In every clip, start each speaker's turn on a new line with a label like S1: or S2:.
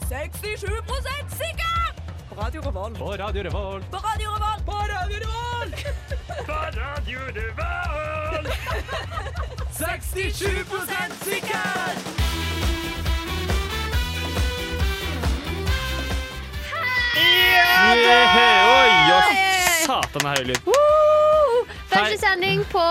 S1: 67 sikker! På Radio Revolt.
S2: På Radio Revolt.
S1: På Radio Revolt. På Radio Revolt!
S2: 67 sikker! Oi, å, satan er høy lyd.
S3: Woo! Første
S2: Hei.
S3: sending på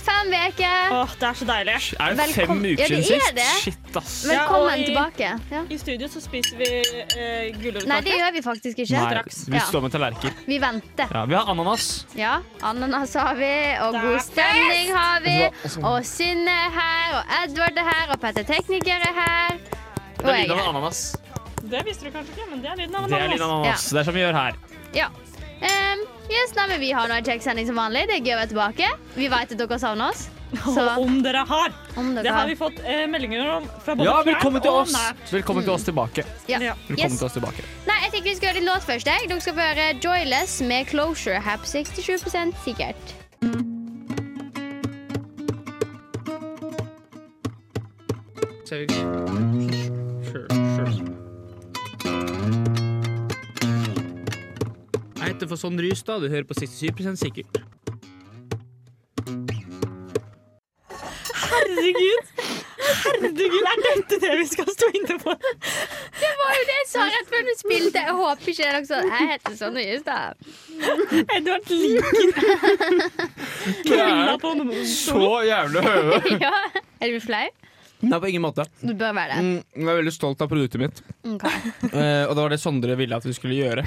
S3: fem uker.
S4: Åh, det er så deilig.
S2: Er det fem
S3: Velkom- Ja,
S2: uker
S3: det
S2: siden
S3: er
S2: sist?
S3: det.
S2: Shit, ass.
S3: Velkommen
S4: Ja, og i-
S3: tilbake. Ja.
S4: I studio så spiser vi eh,
S3: Nei, det
S4: gulrotkaker.
S3: gjør vi faktisk ikke.
S2: Nei, vi
S3: Ja.
S2: står med tallerkener.
S3: Vi venter.
S2: Ja, vi har ananas.
S3: Ja, ananas har vi, og
S4: Det er
S3: god
S4: fest!
S3: stemning har vi. Og Synne er her, og Edvard er her, og Petter Tekniker er her. Og
S2: Det er
S3: jeg
S2: lyden
S3: er
S2: av
S3: her.
S2: ananas.
S4: Det visste du kanskje ikke, men det er lyden av
S2: Det er lyden av
S4: ananas.
S2: ananas. Det er som vi gjør her.
S3: Ja. Ehm, yes, nei, men vi har nå en kjekksending som vanlig. Det er gøy å være tilbake. Vi vet at dere savner oss.
S4: Og
S3: Så
S4: om dere har.
S3: om
S4: Det
S3: dere
S4: har vi fått eh, meldinger om fra både
S2: Ja,
S4: fjern
S2: velkommen til
S4: og
S2: oss.
S4: nært.
S2: Velkommen til oss tilbake.
S3: Ja.
S4: Ja.
S2: Velkommen
S3: Yes.
S2: til oss tilbake.
S3: Nei, jeg tenker vi skal høre litt låt først. Jeg. Dere skal få høre Joyless med Closure Hap 67 sikkert.
S2: Jeg heter for sånn Rystad, du hører på 67 sikkert.
S4: Herregud. Herregud, er dette det vi skal stå inne for?
S3: Det var jo det jeg sa rett før du spilte. Jeg håper ikke det er noe sånn. Jeg heter Sonne Justad.
S4: Edvard liker krølla på
S2: Så jævlig høye!
S3: Ja. Er du flau?
S2: Nei, på ingen måte.
S3: Du bør være det.
S2: Mm, Jeg er veldig stolt av produktet mitt.
S4: Mm,
S3: Ok.
S2: Eh, og det var det Sondre ville at vi skulle gjøre.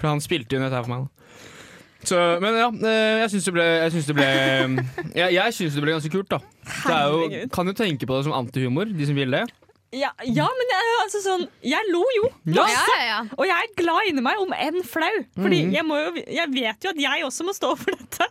S2: For han spilte jo inn dette her for meg. da. Så, men ja, eh, jeg syns det ble Jeg syns det ble, jeg, jeg synes det ble ganske kult, da. Det er jo,
S4: Herregud.
S2: kan jo tenke på det som antihumor, de som vil det.
S4: Ja, ja, men jeg, altså sånn, jeg lo jo.
S3: Ja,
S4: masse.
S3: ja, ja.
S4: Og jeg er glad inni meg, om enn flau. Fordi
S2: Mm.
S4: jeg, må jo, jeg vet jo at jeg også må stå for dette.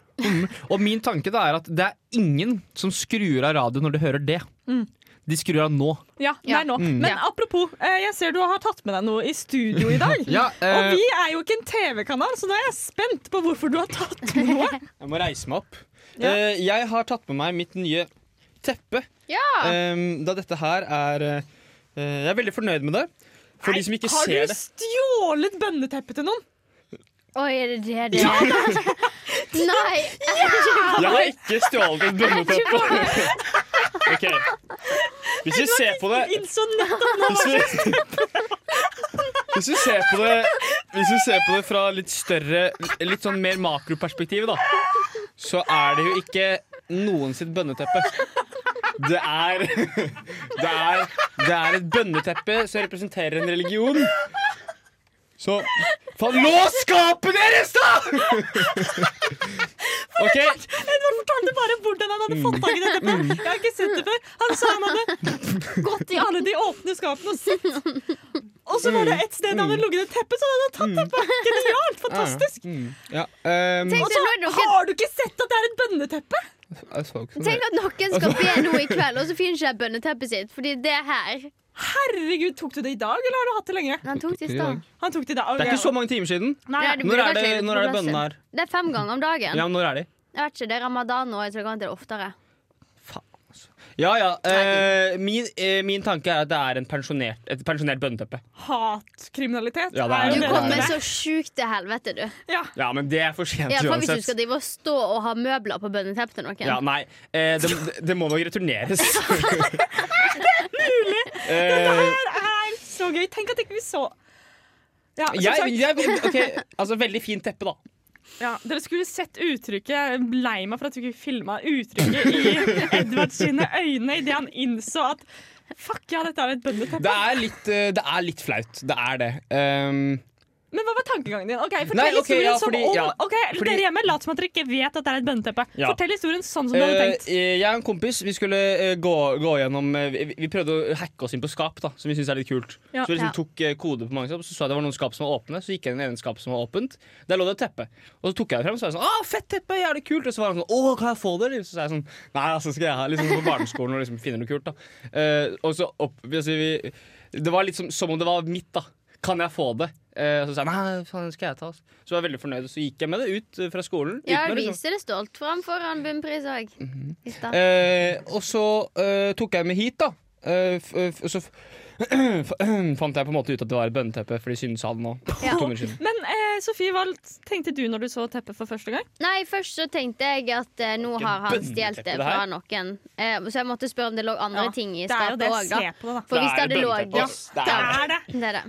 S2: Og min tanke da er at det er ingen som skrur av radio når de hører det.
S4: Mm.
S2: De skrur av nå.
S4: Ja, det
S3: Ja.
S4: er nå.
S2: Mm.
S4: Men
S3: Ja.
S4: apropos, eh, jeg ser du har tatt med deg noe i studio i dag.
S2: Ja,
S4: Og
S2: eh,
S4: vi er jo ikke en TV-kanal, så nå er jeg spent på hvorfor du har tatt med noe.
S2: jeg må reise meg opp.
S4: Ja.
S2: Eh, jeg har tatt med meg mitt nye teppe.
S3: ja.
S2: eh, da dette her er eh, Jeg er veldig fornøyd med det. For de som ikke
S4: har
S2: ser
S4: du
S2: det.
S4: stjålet bønneteppet til noen?
S3: Oi, er det det det er? Nei.
S2: Jeg har ikke stjålet et bønneteppe. Ok. Hvis vi ser på det
S4: Innså nettopp
S2: Hvis vi, hvis vi ser på det Hvis vi ser på det fra litt større Litt sånn mer makroperspektiv, da, så er det jo ikke noen sitt bønneteppe. Det er, det er Det er et bønneteppe som representerer en religion. Så Faen, lås skapet deres, da! OK,
S4: Edvard fortalte bare hvordan han hadde fått tak i det
S2: Mm.
S4: teppet. Jeg har ikke sett det før. Han sa han hadde gått i alle de åpne skapene og sett. Og så var det et sted han hadde ligget et teppe, så han hadde tatt det bak. Genialt! Fantastisk.
S2: Mm. Ah, Ja, ehm,
S3: Tenk
S4: Og
S3: deg når
S4: så
S3: noen
S4: har du ikke sett at det er et bønneteppe?
S2: jeg så ikke sånn
S3: Tenk at noen skal be nå i kveld, og så finner ikke jeg bønneteppet sitt. Fordi det er her.
S4: Herregud, tok du det i dag, eller har du hatt det lenge?
S3: Han tok det i stad.
S4: Han tok det i dag.
S2: Det er ikke så mange timer siden.
S4: Nei,
S3: Nei,
S4: nei.
S3: du
S2: Når
S3: burde
S2: er
S3: vært
S2: det,
S3: litt
S2: når er det
S3: på
S2: bønnene her?
S3: plassen. Det er fem ganger om dagen.
S2: Ja, når er de?
S3: Jeg vet ikke, Det er ramadan nå. Jeg tror jeg kan til det oftere.
S2: Ja, ja. eh, min, eh, min tanke er at det er en pensjonert, et pensjonert bønneteppe.
S4: Hatkriminalitet.
S2: Ja, det er
S4: jo
S3: Du
S2: det.
S3: kommer så sjukt til helvete, du.
S4: Ja.
S2: Ja, men det er for sent
S3: I hvert fall hvis du
S2: uansett.
S3: skal drive og stå og ha møbler på bønneteppet til noen.
S2: Ja, nei, eh, det, det må nok returneres. det er mulig! Eh,
S4: Det er så gøy. Tenk at ikke vi så ja, som
S2: jeg,
S4: sagt,
S2: jeg, ok, altså, veldig fint teppe, da.
S4: ja, Dere skulle sett uttrykket. Jeg er Lei meg for at vi ikke filma uttrykket i Edvard sine øyne idet han innså at Fuck, ja, dette er et
S2: Det
S4: bøndeteppe.
S2: er litt, eh, det er litt flaut. Det er det. Ehm,
S4: Men hva var tankegangen din? Ok, Fortell
S2: Nei, ok,
S4: historien
S2: ja,
S4: som
S2: fordi-
S4: om
S2: ja,
S4: Ok,
S2: fordi-
S4: Dere hjemme, lat som at dere ikke vet at det er et bønneteppe.
S2: Ja.
S4: Fortell historien sånn som du hadde
S2: Eh,
S4: tenkt.
S2: jeg og en kompis vi skulle eh, gå, gå gjennom eh, vi, vi prøvde å hacke oss inn på skap, da, som vi syntes er litt kult.
S4: Ja.
S2: så
S3: Ja.
S2: vi liksom tok eh, kode på mange skap, så så jeg det var noen skap som var åpne. Så gikk jeg inn i det ene skapet som var åpent. Der lå det et teppe. Og så tok jeg det frem, så var jeg sånn Å, fett teppe! Jævlig kult! Og så var han sånn Å, kan jeg få det? eller?» Så sa jeg sånn Nei, altså skal jeg ha liksom på barneskolen og liksom finne noe kult, da. Eh, og så opp vi, altså, vi, Det var litt som, som om det var mitt, da. Kan jeg få det? Eh, så sa jeg nei, faen skal jeg ta. Altså. Så var jeg veldig fornøyd, og så gikk jeg med det ut eh, fra skolen.
S3: Ja,
S2: uten å
S3: jeg
S2: liksom- Mhm.
S3: viser det stolt fram foran bunnpris òg. I stad.
S2: Eh, og så eh, tok jeg med hit, da. Eh, f f så f fant jeg på en måte ut at det var et bønneteppe, for de syntes han nå.
S3: Ja.
S2: To minutter siden.
S4: Men eh, Sofie, hva tenkte du når du så teppet for første gang?
S3: Nei, først så tenkte jeg at eh, nå
S2: Ikke
S3: har han
S2: bønneteppe,
S3: stjålet det
S2: det her.
S3: fra noen. Eh, så jeg måtte spørre om det lå andre
S4: Ja,
S3: ting i
S4: det er jo
S3: skapet
S4: det.
S3: òg, da.
S4: Se på det, da.
S3: For hvis det
S2: Det
S3: hadde
S2: er
S3: ligget
S2: bønneteppe, ass. Det er
S4: Det er det!
S3: Det er det.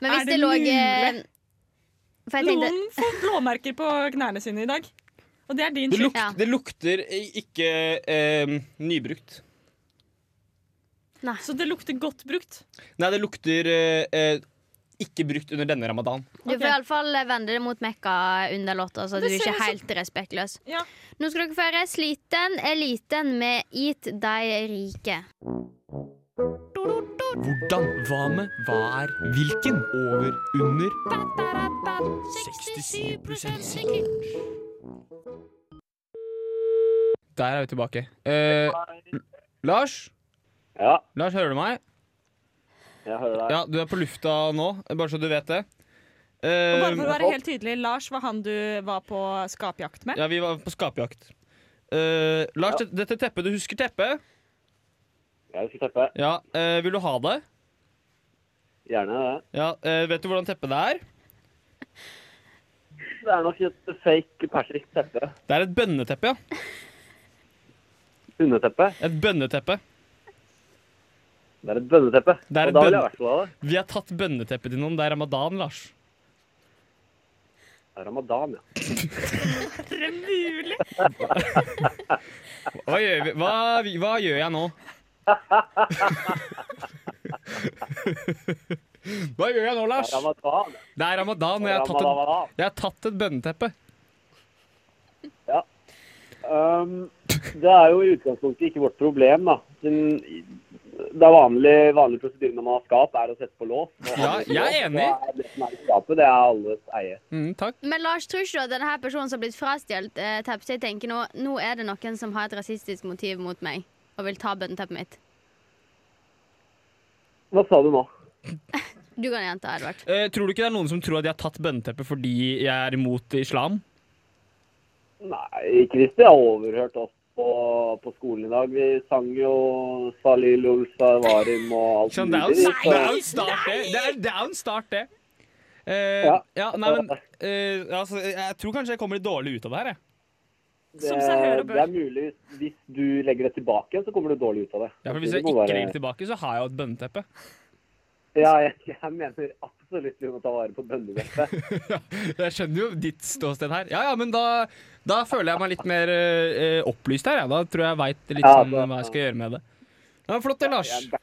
S3: Men
S4: Er
S3: hvis
S4: det
S3: det, lå eh,
S4: mulig?
S3: For jeg tenkte
S4: Noen får blåmerker på knærne sine i dag. Og det er din
S2: Det,
S4: skyld.
S2: luk det lukter ikke eh, nybrukt.
S3: Nei.
S4: Så det lukter godt brukt.
S2: Nei, det lukter eh, eh, ikke brukt under denne ramadan.
S3: Du får iallfall eh, vende det mot Mekka under låta, så du er
S4: Det ser
S3: ikke
S4: ut som-
S3: helt respektløs.
S4: Ja.
S3: Nå skal dere få høre 'Sliten er liten' med Eat de rike.
S5: Hvordan? Hva med? Hva er? Hvilken? Over? Under? 67 sikker.
S2: Der er vi tilbake. Eh, Lars?
S6: Ja,
S2: Lars, hører du meg?
S6: jeg hører deg.
S2: Ja, du er på lufta nå, bare så du vet det.
S4: Og
S2: Eh,
S4: bare for å være helt tydelig, Lars var han du var på skapjakt med.
S2: ja, vi var på skapjakt. Eh, Lars, det- dette teppet, du husker teppet?
S6: Jeg husker teppet.
S2: Ja, eh, vil du ha det?
S6: Gjerne det.
S2: Ja, eh, vet du hvordan teppet det er?
S6: Det er nok et fake persisk teppe.
S2: Det er et bønneteppe, ja.
S6: Hundeteppe.
S2: Et bønneteppe.
S6: Det er et bønneteppe.
S2: Det er et
S6: Og da vil jeg
S2: bønn-
S6: i hvert fall ha det.
S2: Vi har tatt bønneteppet til noen. Det er ramadan, Lars.
S6: Det er ramadan, ja.
S2: Hva gjør, vi? Hva, hva gjør jeg nå? Hva gjør jeg nå,
S6: Det
S2: Lars?
S6: er ramadan.
S2: Det er ramadan, og jeg har tatt et,
S6: Ramadan.
S2: jeg har tatt et bønneteppe.
S6: Um, det er jo i utgangspunktet ikke vårt problem, da. Siden Det er vanlig, vanlig prosedyre når man har skap, er å sette på lås. Og
S2: Ja,
S6: har man
S2: jeg er
S6: lås,
S2: enig.
S6: så er Det som er i skapet, det er alles eie.
S2: Mm, takk.
S3: Men Lars, tror ikke du at denne her personen som har blitt frastjålet eh, teppet sitt, tenker nå nå er det noen som har et rasistisk motiv mot meg og vil ta bønneteppet mitt?
S6: Hva sa du nå?
S3: Du kan gjenta, Edvard.
S2: Eh, tror du ikke det er noen som tror at jeg har tatt bønneteppet fordi jeg er imot islam?
S6: Nei, ikke hvis de har overhørt oss på, på skolen i dag. Vi sang jo Salil ul Sawarim og alt
S2: Sånn, det er
S6: mulig,
S2: jo
S6: så-
S2: det er jo en start, det. Det er, det er jo en start, det. Eh,
S6: Ja.
S2: ja, nei, men eh, altså, Jeg tror kanskje jeg kommer litt dårlig ut av det her. Jeg.
S4: Som seg hør og
S6: det
S4: bør.
S6: er mulig. Hvis du legger det tilbake igjen, så kommer du dårlig ut av det.
S2: Ja, for hvis jeg
S6: Det må
S2: ikke
S6: være-
S2: legger tilbake, så har jeg jo et bønneteppe.
S6: Ja, jeg, jeg mener absolutt vi må ta vare på bønnebeppet.
S2: Jeg skjønner jo ditt ståsted her. Ja, ja, men da, da føler jeg meg litt mer eh, opplyst her. Ja. Da tror jeg jeg veit litt
S6: Ja,
S2: sånn
S6: da-
S2: hva jeg skal gjøre med det. Ja, flott det, Lars.
S6: Jeg, back,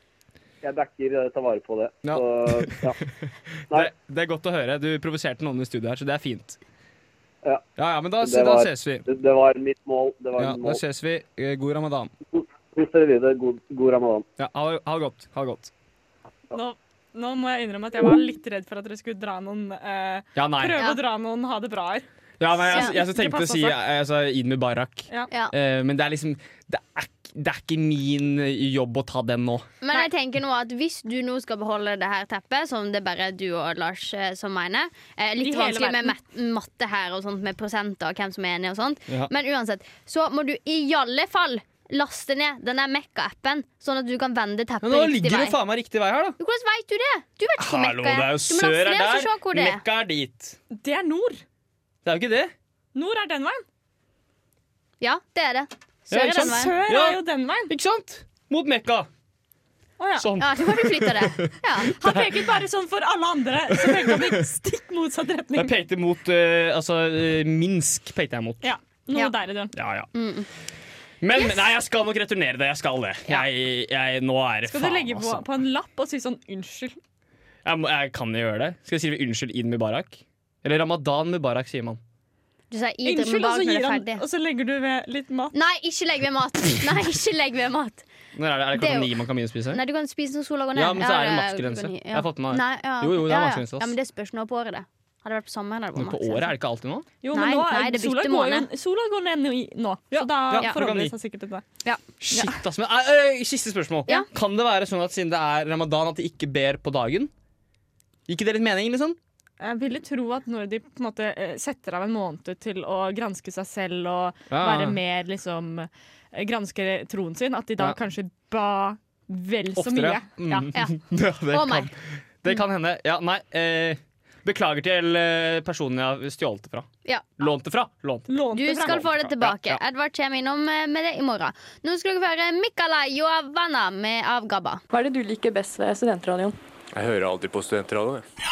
S6: jeg backer eh, ta vare på det.
S2: Ja.
S6: Så, ja.
S2: Det,
S6: Nei.
S2: det er godt å høre. Du provoserte noen i studio her, så det er fint.
S6: Ja.
S2: ja, men da, da
S6: Det var-
S2: ses vi.
S6: Det, det var mitt mål. Det var
S2: Ja,
S6: mitt
S2: da
S6: mål.
S2: ses vi. Eh, God ramadan.
S6: Hvis dere vil det, god, god ramadan.
S2: Ja, ha, det- ha det godt. Ha det godt.
S4: Nå, nå må jeg innrømme at jeg var litt redd for at dere skulle dra noen eh,
S2: Ja, nei.
S4: prøve
S3: Ja.
S4: å dra noen ha det bra-er.
S2: Ja, nei jeg, jeg,
S3: Ja.
S2: så tenkte å si eh, altså, Eid Mubarak.
S4: Ja.
S3: Ja.
S2: Eh, men det er liksom det er, ikk- det er ikke min jobb å ta den nå.
S3: Men jeg tenker nå at hvis du nå skal beholde det her teppet, som det bare er du og Lars eh, som mener eh,
S4: I
S3: Litt
S4: hele
S3: vanskelig med mat matte her og sånt, med prosenter og hvem som er enig og sånt.
S2: Ja.
S3: Men uansett, så må du i alle fall laste ned den der Mekka-appen, sånn at du kan vende teppet
S2: Men nå
S3: riktig
S2: ligger
S3: vei.
S2: det faen meg riktig vei her, da.
S3: Jo, Hvordan veit du det? Du vet ikke hvor
S2: Hallo,
S3: Mekka er.
S2: det er jo
S3: Du må laste
S2: sør er
S3: ned og så
S2: der.
S3: se hvor det er.
S2: Mekka er dit.
S4: Det er nord.
S2: Det er jo ikke det.
S4: Nord er den veien. Sånn
S3: Ja, det er det.
S2: Ja,
S3: Sør
S2: ikke
S3: er den veien.
S2: sant?
S4: Sør
S2: Ja.
S4: er jo den veien.
S2: Ikke sant? Mot Mekka.
S4: Å ja.
S2: Sånn.
S3: Ja, så må du flytte det. Ja.
S4: Han peket bare sånn for alle andre, så pekte han i stikk motsatt
S2: Jeg
S4: retning.
S2: pekte mot eh, altså, eh, Minsk. pekte jeg mot.
S4: Ja, noe
S3: Ja.
S4: der i den.
S2: Ja, ja. Men nei, jeg skal nok returnere det. Jeg skal det. Jeg, jeg, nå er det
S4: Skal du
S2: faen,
S4: legge på,
S2: altså.
S4: på en lapp og si sånn unnskyld?
S2: Jeg, må, jeg kan jo gjøre det. Skal jeg skrive 'unnskyld id Mubarak'? Eller 'ramadan Mubarak', sier man.
S3: Du sa i drømmen
S4: Unnskyld, og
S3: bak når
S4: så,
S3: det
S4: gir
S3: er
S4: han,
S3: ferdig.
S4: og så legger du ved litt mat.
S3: Nei, ikke legg ved mat. Nei, ikke legg ved mat.
S2: Når er det, er
S3: Det er
S2: det klokka
S3: jo-
S2: ni man kan begynne å spise?
S3: Nei, du kan spise når sola går ned.
S2: Ja, men så er det
S3: klokka
S2: maksgrense.
S3: ni, ja.
S2: Jeg har fått med meg.
S3: Nei, ja.
S2: Jo, jo, det er
S3: ja, ja.
S2: maksgrense, ass.
S3: Ja, men det spørs nå på året, det. Hadde det vært på sommeren, hadde det
S2: Men
S3: vært
S2: på året er det ikke alltid nå?
S4: Jo,
S3: Nei,
S4: men nå
S3: nei,
S4: er,
S3: det
S4: sola,
S3: bytter
S4: går jo,
S3: måned.
S4: sola går ned nå, i- nå så da
S2: ja, klokka
S4: forholder
S2: ni.
S4: det seg sikkert til det.
S2: Shit, ass, men, eh, eh, siste spørsmål.
S3: Ja.
S2: Kan det være sånn at siden det er ramadan, at de ikke ber på dagen? Gir ikke det litt mening, liksom?
S4: Jeg ville tro at når de på en måte eh, setter av en måned til å granske seg selv og
S2: Ja.
S4: være mer liksom eh, Granske troen sin, at de da
S2: Ja.
S4: kanskje ba vel så
S2: Oftere.
S4: mye.
S2: Mm.
S4: Ja.
S3: Ja.
S2: Ja, det,
S3: Og
S2: kan,
S3: meg.
S2: det kan hende. Ja, nei. Eh, beklager til eh, personen jeg har stjålet det fra.
S3: Ja.
S2: Lånt det fra. Lånt det.
S4: Lånte
S3: Du
S4: fra-
S3: skal få det tilbake.
S2: Ja, ja.
S3: Edvard kommer innom eh, med det i morgen. Nå skal dere høre Mikala Joavana med av Gabba.
S7: Hva er det du liker best ved studentradioen?
S8: Jeg hører alltid på studentradioen. jeg.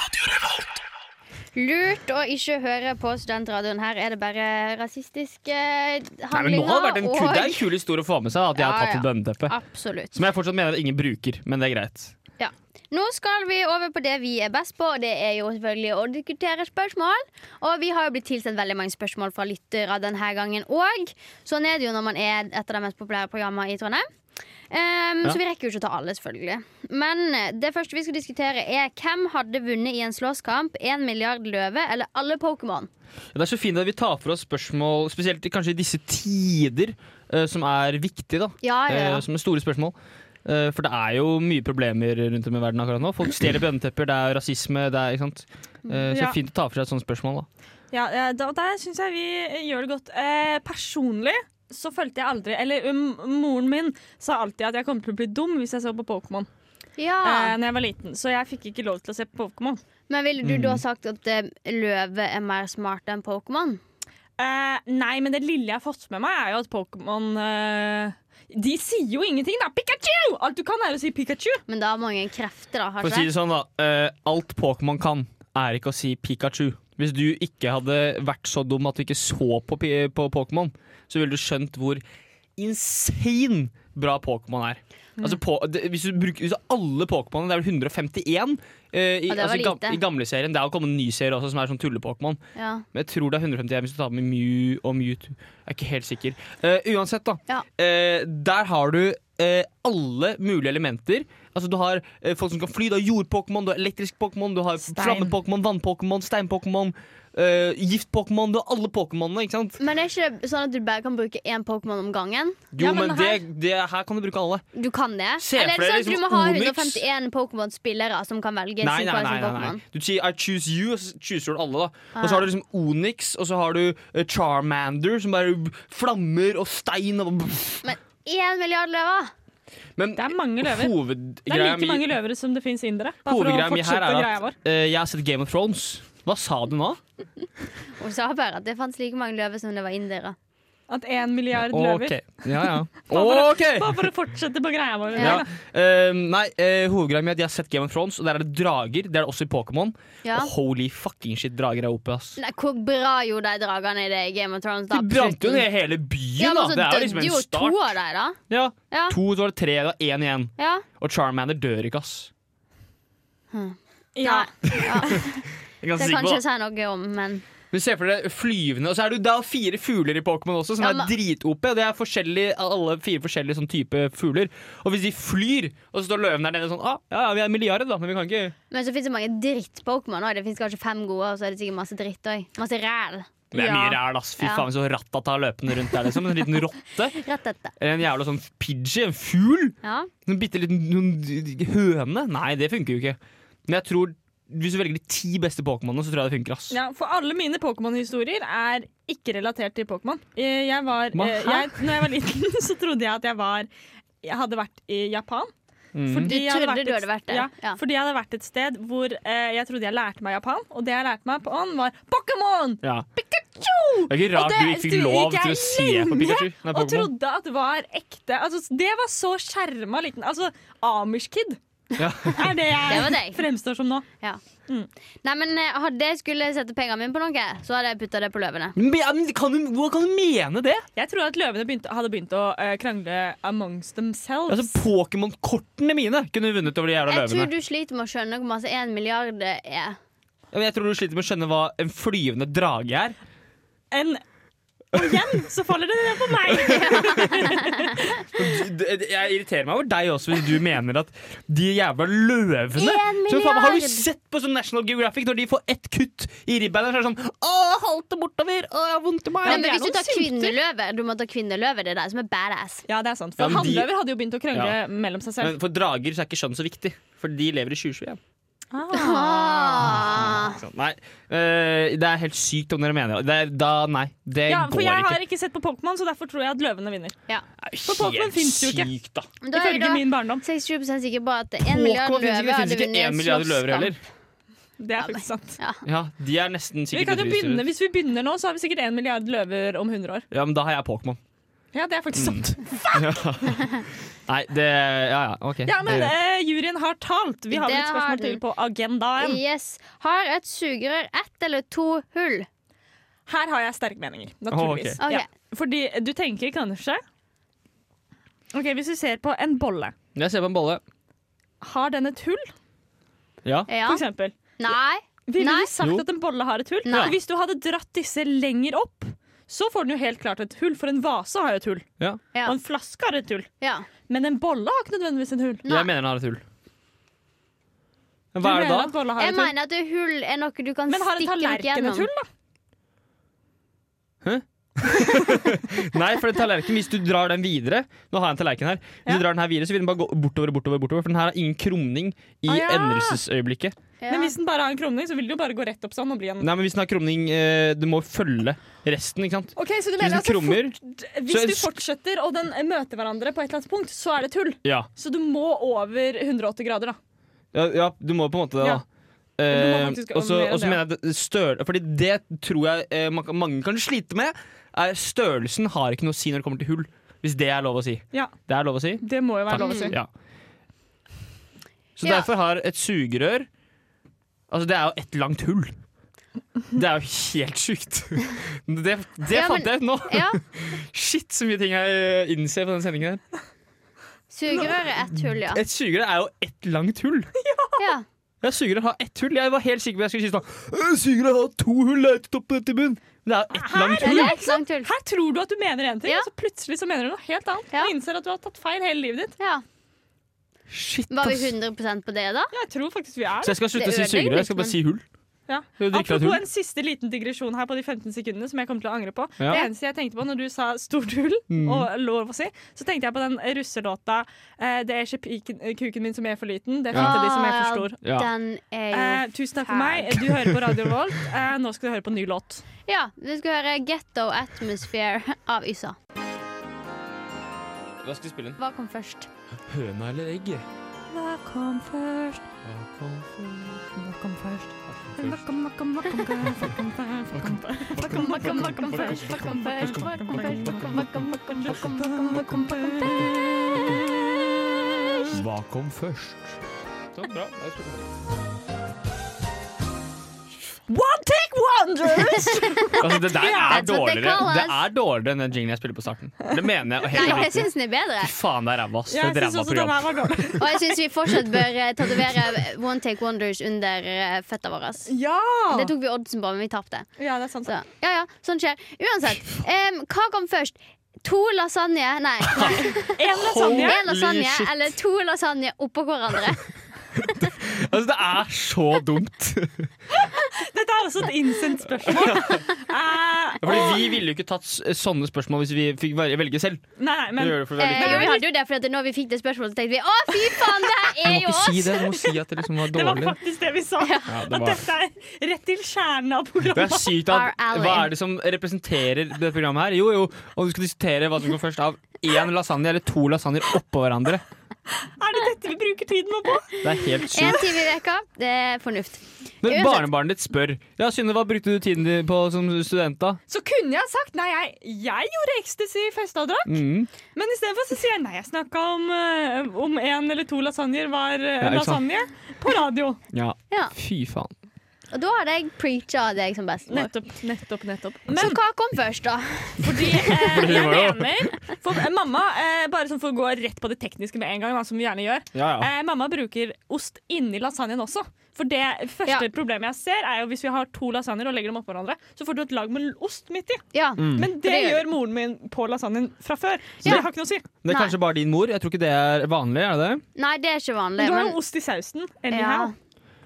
S3: Lurt å ikke høre på studentradioen. Her er det bare rasistiske
S2: Nei, men nå
S3: handlinger.
S2: har det vært en kul, det er en
S3: og-
S2: kul historie å få med seg, at jeg har
S3: Ja, ja.
S2: tatt et bønneteppe.
S3: Absolutt.
S2: Som jeg fortsatt mener at ingen bruker, men det er greit.
S3: Ja. Nå skal vi over på det vi er best på, og det er jo selvfølgelig å diskutere spørsmål. Og vi har jo blitt tilsendt veldig mange spørsmål fra lyttere denne gangen òg. Sånn er det jo når man er et av de mest populære programmene i Trondheim. Ehm,
S2: Ja.
S3: Så vi rekker jo ikke å ta alle, selvfølgelig. Men eh, det første vi skal diskutere, er hvem hadde vunnet i en slåsskamp? Én milliard løve eller alle Pokémon?
S2: Ja, Det er så fint at vi tar for oss spørsmål, spesielt i- kanskje i disse tider, eh, som er viktige, da.
S3: Ja, ja, ja.
S2: Eh, som er store spørsmål. Eh, for det er jo mye problemer rundt om i verden akkurat nå. Folk stjeler bønnetepper, det er rasisme, det er ikke sant. Eh, så
S4: Ja.
S2: fint å ta for seg et sånt spørsmål, da.
S4: Ja, eh, da- og der syns jeg vi gjør det godt. Eh, personlig så følte jeg aldri Eller um, moren min sa alltid at jeg kom til å bli dum hvis jeg så på Pokémon eh,
S3: Ja.
S4: Når jeg var liten. Så jeg fikk ikke lov til å se på Pokémon.
S3: Men ville du
S2: Mm.
S3: da sagt at eh, løve er mer smart enn Pokémon?
S4: Eh, nei, men det lille jeg har fått med meg, er jo at Pokémon eh, De sier jo ingenting, da! Pikachu! Alt du kan, er å si Pikachu.
S3: Men da har mange krefter, da. Har
S2: For å
S3: ikke
S2: si det sånn, da. eh, alt Pokémon kan, er ikke å si Pikachu. Hvis du ikke hadde vært så dum at du ikke så på, Pi- på Pokémon, så ville du skjønt hvor insane bra Pokémon er.
S3: Mm.
S2: Altså, på, det, hvis, du bruker, hvis du alle Pokémonene, det er vel 151 eh,
S3: Og det
S2: i,
S3: var
S2: altså, i, gam,
S3: lite.
S2: i gamle serien. Det er jo kommet en ny serie også som er sånn tulle-Pokémon.
S3: Ja.
S2: Men jeg tror det er 151 hvis du tar med Mew og Mewtwo. Jeg er ikke helt sikker. Eh, uansett, da.
S3: Ja.
S2: Eh, der har du eh, alle mulige elementer. Altså Du har eh, folk som kan fly, du har jord-Pokémon, du har elektrisk Pokémon, du har
S4: Stein.
S2: flamme-Pokémon, vann-Pokémon, stein-Pokémon, eh, gift-Pokémon. Du har alle Pokémonene, ikke sant?
S3: Men er ikke det sånn at du bare kan bruke én Pokémon om gangen?
S2: Jo,
S4: Ja, men
S2: men, det, det, her kan du bruke alle.
S3: Du kan det?
S2: Se
S3: Eller er
S2: for
S3: det
S2: deg
S3: sånn at du
S2: liksom
S3: må ha
S2: Onix.
S3: 151 Pokémon-spillere som kan velge
S2: Nei,
S3: sin
S2: nei,
S3: hver
S2: nei,
S3: sin
S2: nei, nei.
S3: Pokémon?
S2: Du sier I choose you, og så chooser du alle. da Og
S3: Ah.
S2: så har du liksom Onyx, og så har du eh, Charmander, som bare flammer og stein og
S3: Én milliard løver!
S2: Men
S4: Det er mange løver. Det er
S2: hovedgreia
S4: like
S2: mi
S4: mange løvere som det fins indere. Bare for å
S2: Hovedgreia mi her
S4: fortsette
S2: er
S4: greia
S2: at
S4: vår.
S2: eh, jeg har sett Game of Thrones. Hva sa du nå?
S3: Hun sa bare at det fantes like mange løver som det var indere.
S4: At én milliard løver.
S2: Ok. Ja, ja.
S4: Bare
S2: OK!
S4: Bare for å fortsette på greia vår.
S2: Ja. Eh, nei, eh, hovedgreia mi er at jeg har sett Game of Thrones, og der er det drager. Det er det også i Pokémon.
S3: Ja.
S2: Og holy fucking shit, drager er OP, ass.
S3: Nei, hvor bra gjorde de dragene i det i Game of Thrones? da,
S2: De
S3: på
S2: brant jo
S3: slutten?
S2: ned hele byen,
S3: Ja,
S2: da!
S3: men så
S2: Det er jo
S3: døde
S2: liksom
S3: jo to
S2: en start.
S3: av dem, da.
S2: Ja.
S3: Ja.
S2: To, så var det tre, da én igjen.
S3: Ja.
S2: Og Charmander dør ikke, ass.
S4: Ja.
S3: Nei,
S2: Jeg er
S3: det
S2: ganske
S3: kan ikke
S2: sikker på det.
S3: jeg si noe om, men
S2: Men se for deg flyvende, og så er det jo det er jo fire fugler i Pokémon også, som
S3: Ja,
S2: er
S3: men-
S2: drit-OP. Det er forskjellig, alle fire forskjellige sånn type fugler. Og hvis de flyr, og så står løven der nede sånn ah, Ja, ja, vi er milliarder, da, men vi kan ikke
S3: Men så fins det mange dritt-Pokémon òg. Det fins kanskje fem gode, og så er det sikkert masse dritt òg. Masse ræl.
S2: Det er
S4: Ja.
S2: mye ræl, ass. Fy
S3: Ja.
S2: faen, så rattata løpende rundt der, liksom. En liten rotte.
S3: Rett dette.
S2: Eller en jævla sånn pidgey, en fugl.
S3: Ja.
S2: En bitte liten noen høne. Nei, det funker jo ikke. Men jeg tror hvis du velger de ti beste Pokémonene, så tror jeg det funker, ass.
S4: Ja, for alle mine Pokémon-historier er ikke relatert til Pokémon. Eh, Jeg var,
S2: Hva?
S4: eh, jeg, når jeg var liten, så trodde jeg at jeg var Jeg hadde vært i Japan.
S2: Mm.
S4: Fordi
S3: Du
S4: jeg hadde
S3: trodde
S4: vært
S3: du
S4: et-
S3: hadde vært der,
S4: Ja,
S3: ja.
S4: Fordi jeg hadde vært et sted hvor eh, jeg trodde jeg lærte meg Japan, og det jeg lærte meg på ånd, var Pokémon!
S2: Ja. Det er ikke
S4: Og
S2: rart
S4: det-
S2: du ikke
S4: du
S2: fikk lov
S4: gikk
S2: til
S4: jeg
S2: å se på
S4: lenge
S2: Pikachu. Nei,
S4: Og
S2: Pokémon.
S4: trodde at det var ekte. Altså, det var så skjerma liten. Altså, Amish-kid
S2: Ja.
S4: er det
S3: Det var
S4: jeg
S3: deg.
S4: fremstår som nå.
S3: Ja. Nei, men eh, Hadde jeg skulle sette pengene mine på noe, så hadde jeg putta det på løvene.
S2: Men, ja, men kan du, hvordan kan du mene det?
S4: Jeg tror at løvene begynte, hadde begynt å eh, krangle amongst themselves.
S2: Altså, Pokémon-kortene mine kunne du vunnet over de jævla
S3: Jeg tror
S2: løvene.
S3: du sliter med å skjønne hvor masse en milliard er.
S2: Ja, men Jeg tror du sliter med å skjønne hva en flyvende drage er.
S4: En, og igjen så faller det ned på meg!
S2: Du- du- Jeg irriterer meg over deg også hvis du mener at de jævla løvene
S3: En
S2: så, faen, meg, Har du
S3: milliard!
S2: sett på sånn National Geographic når de får ett kutt i ribbeina? Så er det sånn Å, jeg halter bortover! Å, jeg har vondt i meg!
S3: Nei, men
S4: det er
S3: hvis du
S4: noen
S3: tar kvinneløver, du må ta kvinneløver. Det er det som er badass.
S4: Ja, det er sant.
S2: Ja,
S4: For
S2: men de-
S4: hannløver hadde jo begynt å krangle mellom seg selv.
S2: Men for drager så er ikke skjønn så viktig, for de lever i 2021.
S4: Ah.
S3: Ah.
S2: Ikke sant? Nei, eh, det er helt sykt om dere mener det. det. er- Da, nei, det
S4: Ja,
S2: går
S4: for jeg
S2: ikke.
S4: har ikke sett på Pokémon, så derfor tror jeg at løvene vinner. for Pokémon
S2: Helt
S4: finnes jo ikke.
S2: Sykt, da.
S3: Men da er
S4: Ifølge
S3: det da
S4: min barndom.
S3: 67 sikker på at en milliard
S2: Pokémon finnes ikke,
S3: løver
S2: det
S3: hadde
S2: finnes ikke
S3: vunnet
S2: én milliard løver
S3: slåsskamp.
S2: heller.
S4: Det er faktisk sant.
S2: Ja, de er nesten
S4: Vi
S2: sikkert
S4: kan jo
S2: utryddet.
S4: begynne, Hvis vi begynner nå, så har vi sikkert én milliard løver om 100 år.
S2: Ja, men da har jeg Pokémon.
S4: Ja, det er faktisk
S2: Mm.
S4: sant.
S2: Nei, det Ja ja, OK.
S4: Ja, men
S2: det,
S4: eh, Juryen har talt. Vi har vel
S3: Det
S4: et
S3: har
S4: spørsmål
S3: den.
S4: til på agendaen.
S3: Yes. Har et sugerør ett eller to hull?
S4: Her har jeg sterke meninger, naturligvis.
S3: ok. Ok.
S4: Ja. Fordi du tenker kanskje Ok, Hvis vi ser på en bolle,
S2: jeg ser på en bolle.
S4: har den et hull,
S2: Ja.
S3: Ja.
S4: for eksempel?
S3: Nei.
S4: Vi ville
S3: Nei.
S4: du sagt
S2: Jo.
S4: at en bolle har et hull.
S3: Nei.
S4: Og Hvis du hadde dratt disse lenger opp, så får den jo helt klart et hull, for en vase har jo et hull.
S2: Ja.
S3: Ja.
S4: Og en flaske har et hull.
S3: Ja.
S4: Men en bolle har ikke nødvendigvis et hull.
S3: Nei.
S2: Jeg mener den har et hull. Men
S4: Du
S2: Hva er
S4: mener
S2: det da?
S4: at bolle har
S3: Jeg
S4: et hull?
S3: mener at det hull er noe du kan
S4: Men har en
S3: stikke noe
S4: tallerken et
S3: gjennom.
S4: hull, da?
S2: Nei, for den tallerkenen, hvis du drar den videre Nå har jeg en tallerken her. Hvis
S4: Ja.
S2: du drar den her videre, så vil den bare gå bortover og bortover, bortover for den her har ingen krumning i
S4: Ah, ja.
S2: endelsesøyeblikket.
S3: Ja.
S4: Men hvis den bare har en krumning, så vil det jo bare gå rett opp sånn og bli en
S2: Nei, men hvis den har krumning eh, Du må følge resten, ikke sant?
S4: Ok, så du
S2: Hvis
S4: mener
S2: den
S4: at så
S2: krummer,
S4: fort,
S2: så
S4: hvis
S2: er
S4: du
S2: det-
S4: fortsetter og den møter hverandre på et eller annet punkt, så er det et hull.
S2: Ja.
S4: Så du må over 180 grader, da.
S2: Ja, ja, du må på en måte det,
S4: Ja.
S2: da.
S4: Du må
S2: Eh,
S4: faktisk
S2: og så
S4: mer enn
S2: og så
S4: det,
S2: mener jeg at stør, Fordi det tror jeg eh, man, kan- mange kan slite med. Er størrelsen har ikke noe å si når det kommer til hull. Hvis det er lov å si.
S4: Ja.
S2: Det er lov å si?
S4: Det må jo være lov å si.
S2: Ja. Så
S3: Ja.
S2: derfor har et sugerør Altså, det er jo et langt hull. Det er jo helt sjukt. Det, det
S3: Ja, men-
S2: fant jeg ut nå.
S3: Ja.
S2: Shit, så mye ting jeg eh, innser på denne sendingen. her
S3: Sugerør er ett hull, ja.
S2: Et sugerør er jo ett langt hull.
S3: ja.
S2: Ja, Sugerør har ett hull. Jeg var helt sikker på at jeg skulle si sånn «Øh, Sugerør har to hull det er til toppen og til bunn. Men det er jo ett langt
S3: Det
S2: hull.
S3: er et langt hull.
S4: Her tror du at du mener én ting,
S3: Ja.
S4: og så plutselig så mener du noe helt annet.
S3: Ja.
S4: Du innser at du har tatt feil hele livet ditt.
S3: Ja.
S2: Shit,
S3: Var vi
S2: ass.
S3: 100 på det, da?
S4: Jeg tror faktisk vi er
S2: Så jeg skal slutte å
S3: Det
S2: si
S3: ødelegger
S2: sugerør. Jeg
S3: litt,
S2: skal bare si hull.
S4: Ja.
S2: Jeg drikker av et
S4: Apropos
S2: hull.
S4: en siste liten digresjon her på de 15 sekundene som jeg kommer til å angre på.
S2: Ja. Mm.
S4: Det eneste jeg tenkte på når du sa stort hull, og lov å si, så tenkte jeg på den russelåta eh, 'Det er ikke piken, kuken min som er for liten, det er fint de som er for stor'.
S2: Ja.
S3: Den er jo
S4: Eh, tusen takk for meg. Du hører på Radio Volt. Eh, nå skal du høre på en ny låt.
S3: Ja, vi skal høre 'Getto Atmosphere' av Yssa.
S2: Hva skal vi spille inn?
S3: Hva kom først?
S5: Høna eller egget?
S4: Hva kom først? Hva kom først? Hva kom, hva kom, hva kom, hva kom, hva kom, hva kom, hva kom, hva kom, hva kom først? Hva kom først? Hva kom først? Hva kom, hva kom, hva kom, hva kom, hva kom, hva kom, hva kom først?
S5: Hva kom først?
S2: Så bra. Da skal vi-
S4: One take wonders!
S2: Altså, det der er
S3: That's what they
S2: dårligere
S3: call us.
S2: Det er dårligere enn den jinglen jeg spiller på starten. Det mener jeg. og
S3: Nei,
S2: Helt
S3: jeg syns den er bedre.
S2: Fy faen, det er ræva. ass. Det
S4: Jeg
S2: er
S4: synes
S2: et ræva
S4: også den
S2: program.
S4: her var dårlig.
S3: Og jeg syns vi fortsatt bør eh, tatovere One Take Wonders under eh, føtta våre.
S4: Ja!
S3: Det tok vi oddsen på, men vi tapte.
S4: Ja, det er sant.
S3: Så, ja ja, sånn skjer. Uansett, em, hva kom først? To lasagne Nei,
S4: En lasagne.
S3: én lasagne
S2: shit.
S3: eller to lasagne oppå hverandre.
S2: Altså, det er så dumt.
S4: Dette er også et innsendt spørsmål. Eh,
S2: Fordi vi ville jo ikke tatt s- eh, sånne spørsmål hvis vi fikk vel- velge selv.
S4: Nei, nei,
S2: Vi
S4: men
S2: gjør det for
S3: Eh,
S2: veldig
S3: jo, vi hadde jo det, for at når vi fikk det spørsmålet, så tenkte vi å, fy faen, det her er
S2: Du
S3: jo
S2: må ikke si
S3: oss!
S2: det. Du må si at det liksom var
S4: det var
S2: dårlig.
S4: faktisk det vi sa.
S2: Ja,
S4: At
S2: det, var.
S4: dette er rett til kjernen av
S2: det er
S4: programmet.
S2: sykt
S3: Our
S2: at
S3: ally.
S2: Hva er det som representerer det programmet her? Jo, jo, og du skal diskutere hva som går først av én lasagne eller to lasagner oppå hverandre.
S4: Er det dette vi bruker tiden vår på?
S2: Det er helt sykt.
S3: Én time i veka, det er fornuft.
S2: Når
S3: Uansett.
S2: barnebarnet ditt spør Ja, Synne, hva brukte du tiden din på som student, da?
S4: Så kunne jeg sagt nei, jeg, jeg gjorde ecstasy i festeavdrag.
S2: Mm.
S4: Men istedenfor så sier jeg nei, jeg snakka om eh, om én eller to lasagner var eh,
S2: Ja, ikke sant.
S4: lasagne på radio.
S2: Ja.
S3: Ja.
S2: Fy faen.
S3: Og da hadde jeg preacha deg som best.
S4: Nettopp, nettopp, nettopp.
S3: Så
S4: Men
S3: hva kom først, da?
S4: fordi eh,
S2: Fordi det
S4: jeg
S2: var jo-
S4: mener for, eh, Mamma, eh, bare sånn for å gå rett på det tekniske med en gang, da, som vi gjerne gjør.
S2: Ja, ja.
S4: Eh, mamma bruker ost inni lasagnen også. For det første
S3: Ja.
S4: problemet jeg ser, er jo hvis vi har to lasagner og legger dem oppå hverandre, så får du et lag med ost midt i.
S3: Ja.
S2: Mm.
S4: Men det,
S3: det gjør
S4: gjør moren min på lasagnen fra før, så
S3: Ja.
S4: det har ikke noe å si.
S2: Det er
S3: Nei.
S2: kanskje bare din mor. Jeg tror ikke det er vanlig. er det det?
S3: Nei, det er ikke vanlig.
S4: Du har
S3: Men
S4: jo ost i sausen.
S3: ja.
S4: Anyhow.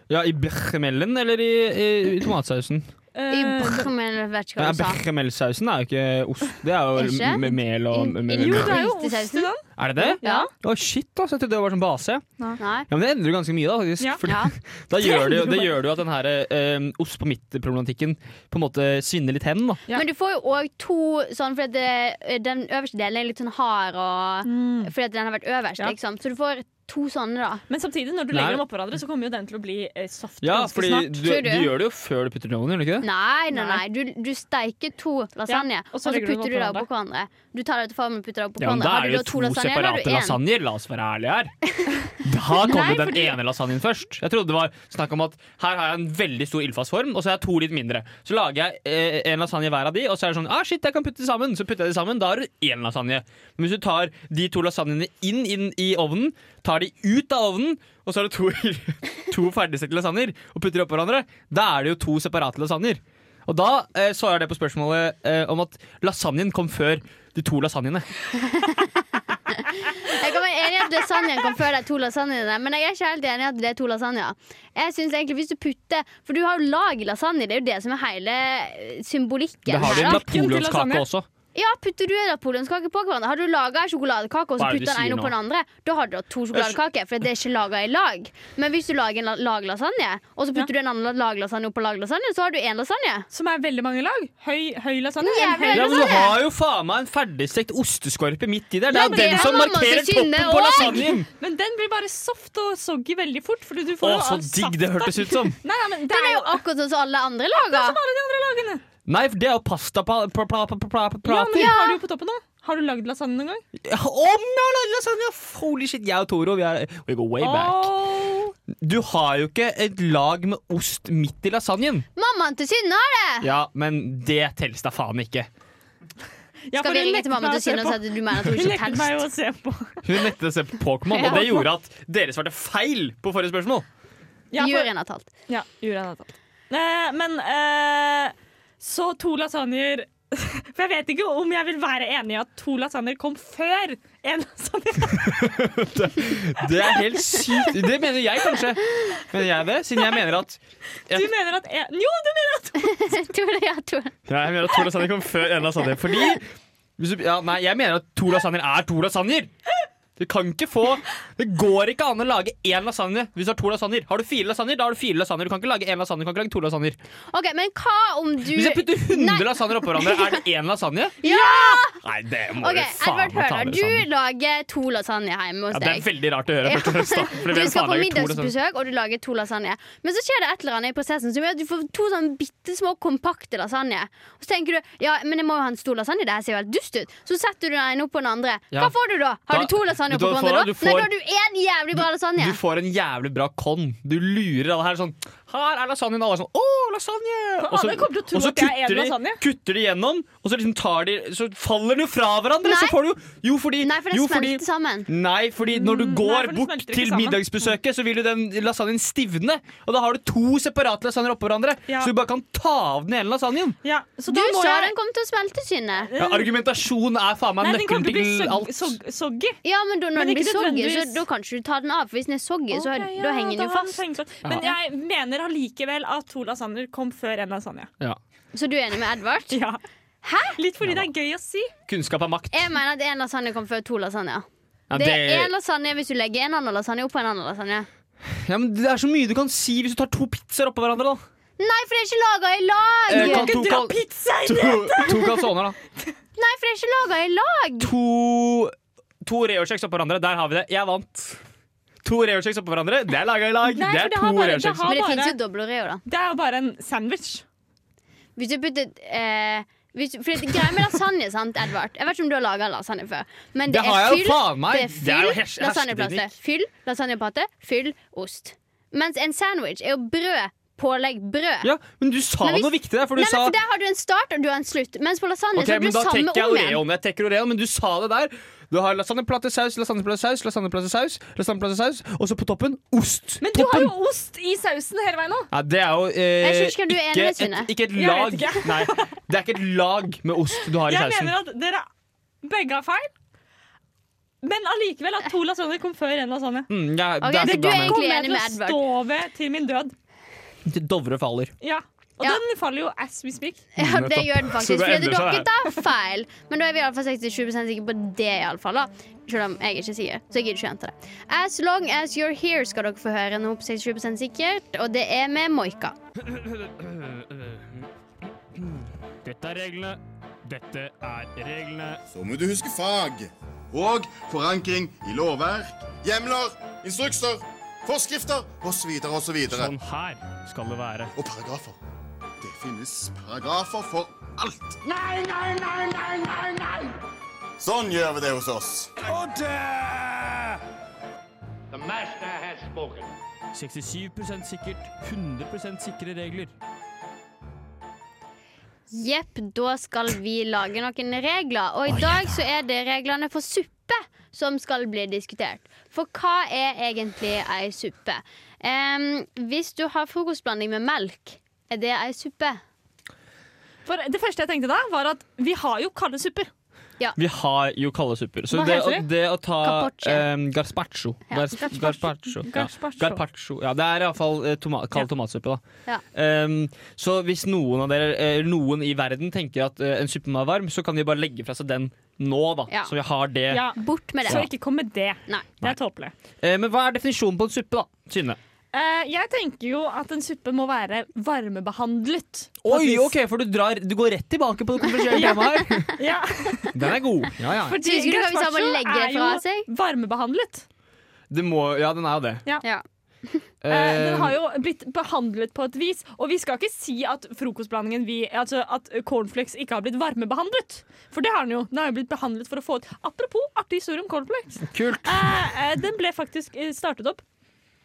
S2: Ja, I bechamelen eller i, i, i tomatsausen?
S3: I
S4: Eh,
S3: brummen, jeg vet ikke
S2: Ja,
S3: hva du sa.
S2: Bechamelsausen er jo ikke ost. Det er jo
S3: Ikke?
S2: med mel og
S3: Mm,
S2: med,
S3: jo,
S4: det er jo
S3: Ost i
S4: ost i
S3: sausen?
S4: den.
S2: Er det det?
S3: Ja?
S2: Å, shit, altså. Jeg trodde det var sånn base.
S3: Nei?
S2: Ja, men det endrer jo ganske mye, da, faktisk.
S4: Ja.
S2: Fordi-
S3: Ja.
S2: Da gjør det, jo, det gjør det jo at den her eh, ost på mitt-problematikken på en måte svinner litt hen. da.
S4: Ja.
S3: Men du får jo òg to sånn fordi at det, den øverste delen er litt sånn hard og Fordi at den har vært øverst,
S4: Mm. Ja.
S3: liksom. Så du får to sånne, da.
S4: Men samtidig, når du
S2: Nei.
S4: legger dem oppå hverandre, så kommer jo den til å bli eh, soft
S2: Ja,
S4: ganske
S2: fordi
S4: snart.
S2: du,
S3: tror
S2: du
S3: du.
S2: gjør det jo før du putter den i ovnen, gjør du ikke det?
S3: Nei, nei,
S4: Nei.
S3: nei. Du, du steiker to lasagne,
S4: Ja,
S3: og så,
S4: legger du
S3: putter du det
S4: dem
S3: oppå
S4: oppå
S3: hverandre. Du tar det til formen og putter det oppå
S2: Ja, men
S3: hverandre.
S2: Da
S3: Har
S2: er
S3: du
S2: det
S3: da
S2: jo
S3: to
S2: to
S3: lasagner, eller har
S2: separate
S3: du én?
S2: lasagner, la oss være ærlige her. Da kom
S3: Nei,
S2: jo den
S3: fordi-
S2: ene lasagnen først. Jeg trodde det var snakk om at her har jeg en veldig stor ildfastform, og så har jeg to litt mindre. Så lager jeg eh, en lasagne hver av de, og så er det sånn ah shit, jeg kan putte de sammen. Så putter jeg de sammen, da har du én lasagne. Men hvis du tar de to lasagnene inn, inn i ovnen, tar de ut av ovnen, og så har du to, to ferdigstekte lasagner og putter de oppå hverandre, da er det jo to separate lasagner. Og da eh, svarer det på spørsmålet eh, om at lasagnen kom før de to lasagnene.
S3: Jeg kan være enig i at lasagnen kom før de to lasagnene, men jeg er ikke helt enig i at det er to lasagner. Jeg synes egentlig hvis du putter For du har jo lag i lasagne, det er jo det som er hele eh, symbolikken.
S2: Det har de
S3: her,
S2: en
S3: da.
S2: napoleonskake også.
S3: Ja, putter du en napoleonskake på hverandre? Har du laga sjokoladekake og så
S2: Hva er det du
S3: putter den
S2: sier
S3: ene oppå
S2: nå?
S3: den andre? Da har du hatt to sjokoladekaker, for det er ikke laga i lag. Men hvis du lager en la- laglasagne, og så putter du en annen laglasagne oppå laglasagne, så har du én lasagne.
S4: Som er veldig mange lag. Høy, høy lasagne.
S3: Jævlig
S4: en høy-
S3: høy
S2: Ja,
S3: Eller
S2: men Du
S3: sånn, ja.
S2: har jo faen meg en ferdigstekt osteskorpe midt i der. Det
S3: Ja,
S2: er
S3: men
S2: den
S3: det
S2: som
S3: har mamma
S2: markerer
S3: til
S2: toppen
S3: Synne
S2: på
S3: også.
S2: lasagnen!
S4: Men den blir bare soft og soggy veldig fort. Fordi du
S2: Å,
S4: får jo
S2: så
S4: all
S2: digg
S4: safta.
S2: det hørtes ut som!
S4: Nei, nei, men det
S3: Den
S4: er
S3: er
S4: jo
S3: jo akkurat sånn som alle andre lager.
S4: alle de andre lagene.
S2: Nei, for det er jo pasta pa, pa, pa, pa, pa, pa,
S4: Ja, men
S2: prater.
S4: har du jo på toppen nå? Har du lagd lasagne noen gang?
S2: Om jeg har lagd lasagne! Holy shit, jeg og Toro vi er, we go way back.
S4: Åh.
S2: Du har jo ikke et lag med ost midt i lasagnen.
S3: Mammaen til Synne har det!
S2: Ja, men det telles da faen ikke.
S4: Ja,
S3: Skal vi
S4: for hun
S3: ringe
S4: nektet
S3: til mamma
S4: meg å
S3: til
S4: se
S3: Synne og
S4: på.
S3: si at du mener at hun
S4: Hun
S3: ikke
S4: nektet meg
S3: telst?
S4: å se på.
S2: Hun nektet å se på Pokémon, og det gjorde at dere svarte feil på forrige spørsmål.
S4: Ja, for-
S3: Juryen har talt.
S4: Ja, juryen har tatt. Eh, men eh, så to lasagner For jeg vet ikke om jeg vil være enig i at to lasagner kom før en lasagne.
S2: Det er helt sykt. Det mener jeg kanskje. Mener jeg det? Siden jeg mener at
S4: Du mener at en, Jo, du mener at
S3: Tror det, ja, tror det.
S2: Nei, jeg mener at to lasagner kom før en lasagne. Fordi hvis du, ja, Nei, jeg mener at to lasagner er to lasagner! Du kan ikke få Det går ikke an å lage én lasagne hvis du har to lasagner. Har du fire lasagner, da har du fire lasagner. Du kan ikke lage én lasagne, du kan ikke lage to lasagner.
S3: OK, men hva om du
S2: Hvis jeg putter 100
S3: Nei.
S2: lasagner oppå hverandre, er det én lasagne? Nei, det må
S3: OK,
S2: du faen
S3: Edvard
S2: meg ta
S3: Høler,
S2: med
S3: du
S2: deg sammen.
S3: lager to lasagne hjemme
S2: Ja,
S3: hos
S2: det er
S3: deg.
S2: veldig rart å høre. først og fremst, da. For
S3: Du
S2: hvem
S3: skal
S2: faen
S3: på
S2: lager to lasagner?
S3: middagsbesøk, og du lager to lasagne. Men så skjer det et eller annet i prosessen som gjør at du får to sånn bitte små kompakte lasagne. Og så tenker du ja, men jeg må jo ha en stor lasagne, det her ser jo helt dust ut. Så setter du den ene opp på den andre.
S2: Ja.
S3: Hva får du da? Har
S2: Da-
S3: du to lasagner
S2: vet du
S3: på
S2: hva du
S3: hverandre
S2: får?
S3: da? Nei,
S2: Du får-
S3: da har du én jævlig bra lasagne.
S2: Du får en jævlig bra con. Du lurer alle her sånn Her er lasagnen. Alle er sånn Å, lasagne!
S4: Alle kommer til å tro
S2: og så
S4: at det er en
S2: kutter de-
S4: lasagne.
S2: kutter de gjennom, og så liksom tar de Så faller den jo fra hverandre!
S3: Nei.
S2: Så får du jo Jo, fordi
S3: Nei, for det
S2: jo, fordi,
S3: smelter sammen.
S2: Nei, fordi når du
S4: Mm, nei, for
S2: går
S4: det
S2: bort
S4: smelter ikke
S2: til
S4: sammen.
S2: middagsbesøket, så vil jo den lasagnen stivne. Og da har du to separate lasagner oppå hverandre,
S4: Ja.
S2: så du bare kan ta av den ene lasagnen.
S4: ja, så
S3: Du
S4: da må
S3: sa
S4: jeg
S3: den kom til å smelte, Synne.
S2: Ja, argumentasjon er faen meg
S4: Nei, den
S2: nøkkelen
S4: kommer til å bli
S2: til
S4: sog-
S2: alt.
S4: sog- soggy.
S3: Ja, men da,
S4: Men
S3: når den blir
S4: ikke
S3: soggy, så
S4: nødvendigvis.
S3: da kan ikke du ta den av. For hvis den er soggy, så har,
S4: Ok, ja,
S3: da henger
S4: da
S3: den jo
S4: har
S3: fast.
S4: hengt fast. Men jeg mener allikevel at to lasagner kom før en lasagne.
S2: Ja.
S3: Så du er enig med Edvard?
S4: Ja. Hæ? Litt fordi det er gøy å si.
S2: Kunnskap er makt.
S3: Jeg mener at én lasagne kom før to lasagner.
S2: Ja,
S3: Det er én lasagne hvis du legger en annen lasagne oppå en annen lasagne.
S2: ja, men det er så mye du kan si hvis du tar to pizzaer oppå hverandre, da.
S3: Nei, for det er ikke laga i lag!
S2: Eh,
S4: Kan
S2: kan
S4: ikke
S2: to
S4: du ha
S2: kal-
S4: pizza i
S2: To,
S4: det?
S2: to kalsoner, da.
S3: Nei, for det er ikke laga i lag!
S2: To, to reorkjeks oppå hverandre. Der har vi det. Jeg vant. To reorkjeks oppå hverandre. Det er laga i lag.
S4: Nei, for
S2: det er
S4: det
S2: to
S4: har bare- det
S2: reorkjeks.
S4: har-
S3: Men det
S4: bare-
S3: fins jo doble oreo, da.
S4: Det er jo bare en sandwich.
S3: Hvis du putter eh, hvis, for det Greia med lasagne, sant, Edvard Jeg vet ikke om du har laga lasagne før. Men det,
S2: Det har
S3: er
S2: jeg jo
S3: fyll,
S2: faen meg.
S3: det er
S2: Det er jo
S3: fyll,
S2: hers-
S3: lasagneplate.
S2: hersketeknikk.
S3: Fyll, lasagneplate, fyll, ost. Mens en sandwich er jo brød, pålegg, brød.
S2: Ja, men du sa
S3: Men hvis-
S2: noe viktig der, for du
S3: Nei, men
S2: sa
S3: for Der har du en start og du har en slutt. Mens på lasagne
S2: Ok,
S3: så har du
S2: men da
S3: samme
S2: trekker jeg
S3: om igjen.
S2: oreoen. Jeg trekker oreoen, men du sa det der. Du har lasagneplatesaus, lasagneplatesaus, lasagneplatesaus, lasagneplatesaus, og så på toppen ost.
S4: Men du har
S2: toppen.
S4: jo ost i sausen hele veien nå.
S2: Ja, det er jo
S3: Jeg
S2: eh,
S3: synes ikke du er enig med Synne.
S2: et, ikke et
S4: Jeg
S2: lag.
S4: vet ikke.
S2: Nei, det er ikke et lag med ost du har i
S4: Jeg
S2: sausen.
S4: mener at dere begge har feil. Men allikevel at to lasagne kom før en lasagne.
S2: Mm, ja,
S3: Ok,
S2: det er
S3: så
S2: ikke
S3: du
S2: bra
S3: er
S2: med
S3: egentlig
S4: Kommer jeg
S3: enig
S4: til å
S3: med Edvard.
S4: stå ved til min død?
S2: Dovre faller.
S4: Ja.
S1: Og
S3: Ja.
S1: den faller jo ass we speak.
S3: Ja, det
S2: Nettopp.
S3: gjør den
S2: Så
S3: faktisk.
S2: det
S3: Fordi dere
S2: endrer seg
S3: tar feil. Men da er vi i alle fall 67 sikre på det, i alle fall, da. Selv om jeg ikke sier det. Så jeg gidder ikke gjenta det. As long as you're here skal dere få høre nå på 67 sikkert, og det er med Moika.
S9: Dette er reglene. Dette er reglene.
S10: Så må du huske fag og forankring i lovverk, hjemler, instrukser, forskrifter osv. osv. videre.
S9: Sånn her skal det være.
S10: Og paragrafer. Det finnes paragrafer for alt. Nei, nei, nei, nei, nei, nei! Sånn gjør vi det hos oss.
S9: 67 sikkert, 100 sikre regler.
S3: Jepp, da skal vi lage noen regler. Og i dag så er det reglene for suppe som skal bli diskutert. For hva er egentlig ei suppe? Em, hvis du har frokostblanding med melk, er det ei suppe?
S1: For det første jeg tenkte da, var at vi har jo kalde supper.
S2: Vi har jo kalde supper. Så
S1: Hva
S2: det,
S1: heter
S2: å- det å ta
S3: Carpaccio.
S2: um, gazpacho Gars- Gazpacho. Ja.
S1: Gazpacho.
S2: Gazpacho. Ja, det er iallfall eh, toma kald tomatsuppe, da.
S3: Ja.
S2: Ehm, så hvis noen av dere, eh, noen i verden, tenker at eh, en suppe må være varm, så kan de bare legge fra seg den nå, da.
S3: Ja.
S2: Så vi har det.
S1: Ja.
S3: Bort med det.
S1: Så ikke kom med det.
S3: Nei.
S1: Det er tåpelig.
S2: Eh, men hva er definisjonen på en suppe, da? Synne?
S1: Eh, jeg tenker jo at en suppe må være varmebehandlet. på et
S2: Oi,
S1: vis.
S2: OK, for du, drar, du går rett tilbake på det konfesjonelle temaet her.
S1: Ja,
S2: Den er god. Ja, ja.
S1: fordi
S3: Husker du hva vi sa om å
S1: gazpacho
S3: legge det
S1: er
S3: fra
S1: jo
S3: seg?
S1: Varmebehandlet.
S2: Det må, ja, den er jo det.
S3: Ja.
S1: Eh, den har jo blitt behandlet på et vis, og vi skal ikke si at frokostblandingen vi, altså at cornflakes ikke har blitt varmebehandlet. For det har den jo. Den har jo blitt behandlet for å få ut Apropos artig historie om cornflakes.
S2: Kult.
S1: Eh, eh, den ble faktisk eh, startet opp.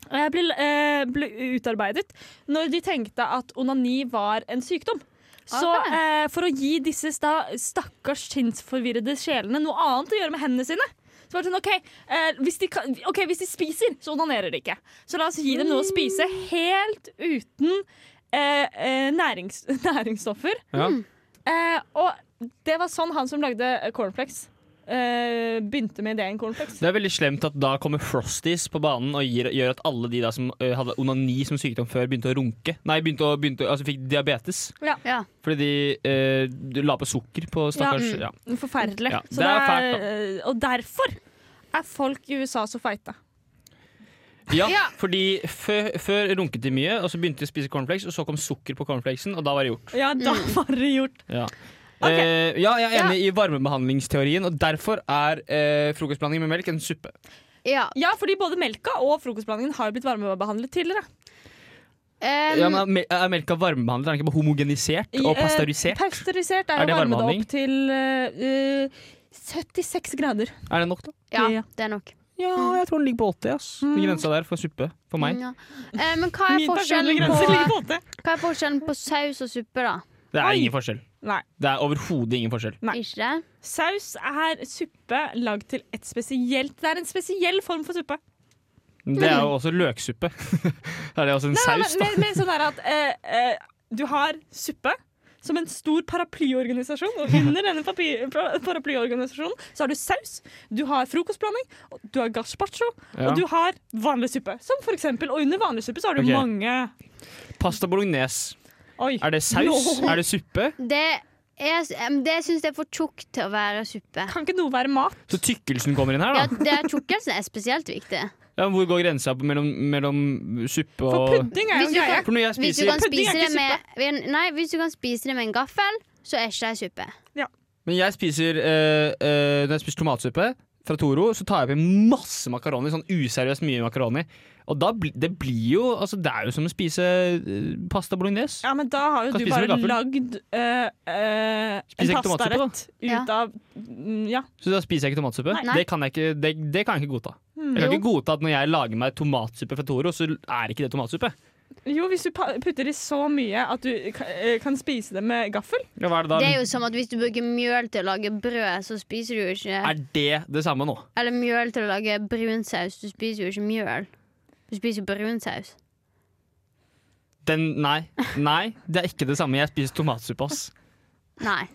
S1: Og jeg ble, eh, ble utarbeidet når de tenkte at onani var en sykdom. Så
S3: Ok.
S1: eh, for å gi disse sta, stakkars sinnsforvirrede sjelene noe annet å gjøre med hendene sine så var det sånn, ok, eh, hvis, de kan, ok, hvis de spiser, så onanerer de ikke. Så la oss gi dem noe å spise helt uten eh, eh, nærings, næringsstoffer.
S2: Ja.
S1: Eh, og det var sånn han som lagde eh, cornflakes, eh, begynte med ideen cornflakes.
S2: Det er veldig slemt at da kommer Frosties på banen og gir, gjør at alle de da som eh, hadde onani som sykdom før, begynte å runke. Nei, begynte å, begynte, å- altså fikk diabetes.
S3: Ja.
S2: Fordi de, eh, de la på sukker på stakkars
S1: mm.
S2: ja.
S1: Forferdelig.
S2: Ja,
S1: Så
S2: det er fælt,
S1: eh, og derfor er folk i USA så feite.
S2: Ja,
S3: Ja.
S2: fordi før, før runket de mye, og så begynte de å spise cornflakes, og så kom sukker på cornflakesen, og da var det gjort.
S1: Ja, da var det gjort.
S2: Ja. Eh, ja, jeg er enig i varmebehandlingsteorien, og derfor er eh, frokostblanding med melk en suppe.
S3: Ja.
S1: Ja, fordi både melka og frokostblandingen har jo blitt varmebehandlet tidligere.
S3: Em,
S2: Ja, men er mel- er melka varmebehandlet? Er den ikke bare homogenisert og
S1: I, eh,
S2: pasteurisert?
S1: Pasteurisert er,
S2: Er det
S1: jo varmet
S2: varmebehandling?
S1: opp til eh, eh, 76 grader.
S2: Er det nok, da?
S3: ja,
S1: ja.
S3: det er nok.
S2: Ja, jeg tror den ligger på 80, ass. Den Grensa der for suppe, for meg.
S3: Ja. Eh, men hva er,
S1: Min personlige
S3: forskjellen
S1: grense ligger
S3: på,
S1: på åtte.
S3: hva er forskjellen på saus og suppe, da?
S2: Det er
S1: Oi.
S2: ingen forskjell.
S1: Nei.
S2: Det er overhodet ingen forskjell.
S1: Nei.
S3: Ikke det?
S1: Saus er suppe lagd til et spesielt Det er en spesiell form for suppe.
S2: Det er jo også løksuppe. er det også en
S1: Nei,
S2: saus, da?
S1: men, men, men sånn er at eh, eh, du har suppe som en stor paraplyorganisasjon, og under denne papi- pra- paraplyorganisasjonen så har du saus, du har frokostblanding, og du har gazpacho,
S2: Ja.
S1: og du har vanlig suppe. Som for eksempel, og under vanlig suppe så har du
S2: Ok.
S1: mange
S2: Pasta bolognese.
S1: Oi.
S2: Er det saus?
S1: Nå.
S2: Er det suppe?
S3: Det, er, em, det syns jeg er for tjukt til å være suppe.
S1: Kan ikke noe være mat?
S2: Så tykkelsen kommer inn her,
S3: Ja,
S2: da.
S3: det er Tjukkelsen er spesielt viktig.
S2: Ja, men hvor går grensa på mellom, mellom suppe
S1: For
S2: og
S1: pudding er
S3: Hvis
S1: jo
S3: du
S1: greia.
S3: kan-
S2: For når jeg
S3: Hvis du
S2: spiser
S3: kan
S1: Pudding er
S3: spise det
S1: ikke
S3: med, nei, hvis du kan spise det med en gaffel, så er ikke det suppe.
S2: Men jeg spiser eh, eh, Når jeg spiser tomatsuppe fra Toro, så tar jeg på masse makaroni. Sånn useriøst mye makaroni. Og da bli, det blir jo altså, Det er jo som å spise eh, pasta bolognese.
S1: Ja, men da har jo
S2: Kan
S1: du
S2: spise
S1: bare
S2: med gaffel.
S1: lagd eh, eh,
S2: Spiser
S1: en
S2: ikke tomatsuppe, da?
S1: pastarett ut
S3: Ja.
S1: av mm, Ja.
S2: Så da spiser jeg ikke tomatsuppe?
S3: Nei.
S2: Det kan jeg ikke, det, det kan jeg ikke godta. Jeg kan ikke godta at når jeg lager meg tomatsuppe fra Toro, så er ikke det tomatsuppe.
S1: Jo, hvis du pa- putter i så mye at du ka- eh, kan spise det med gaffel.
S2: Ja, hva er, det da?
S3: Det er jo som at hvis du bruker mjøl til å lage brød, så spiser du jo ikke
S2: er det det samme nå?
S3: Eller mjøl til å lage brunsaus, du spiser jo ikke mjøl. Du spiser jo brunsaus.
S2: Den, nei, nei, det er ikke det samme. Jeg spiser tomatsuppe, ass.
S3: Nei.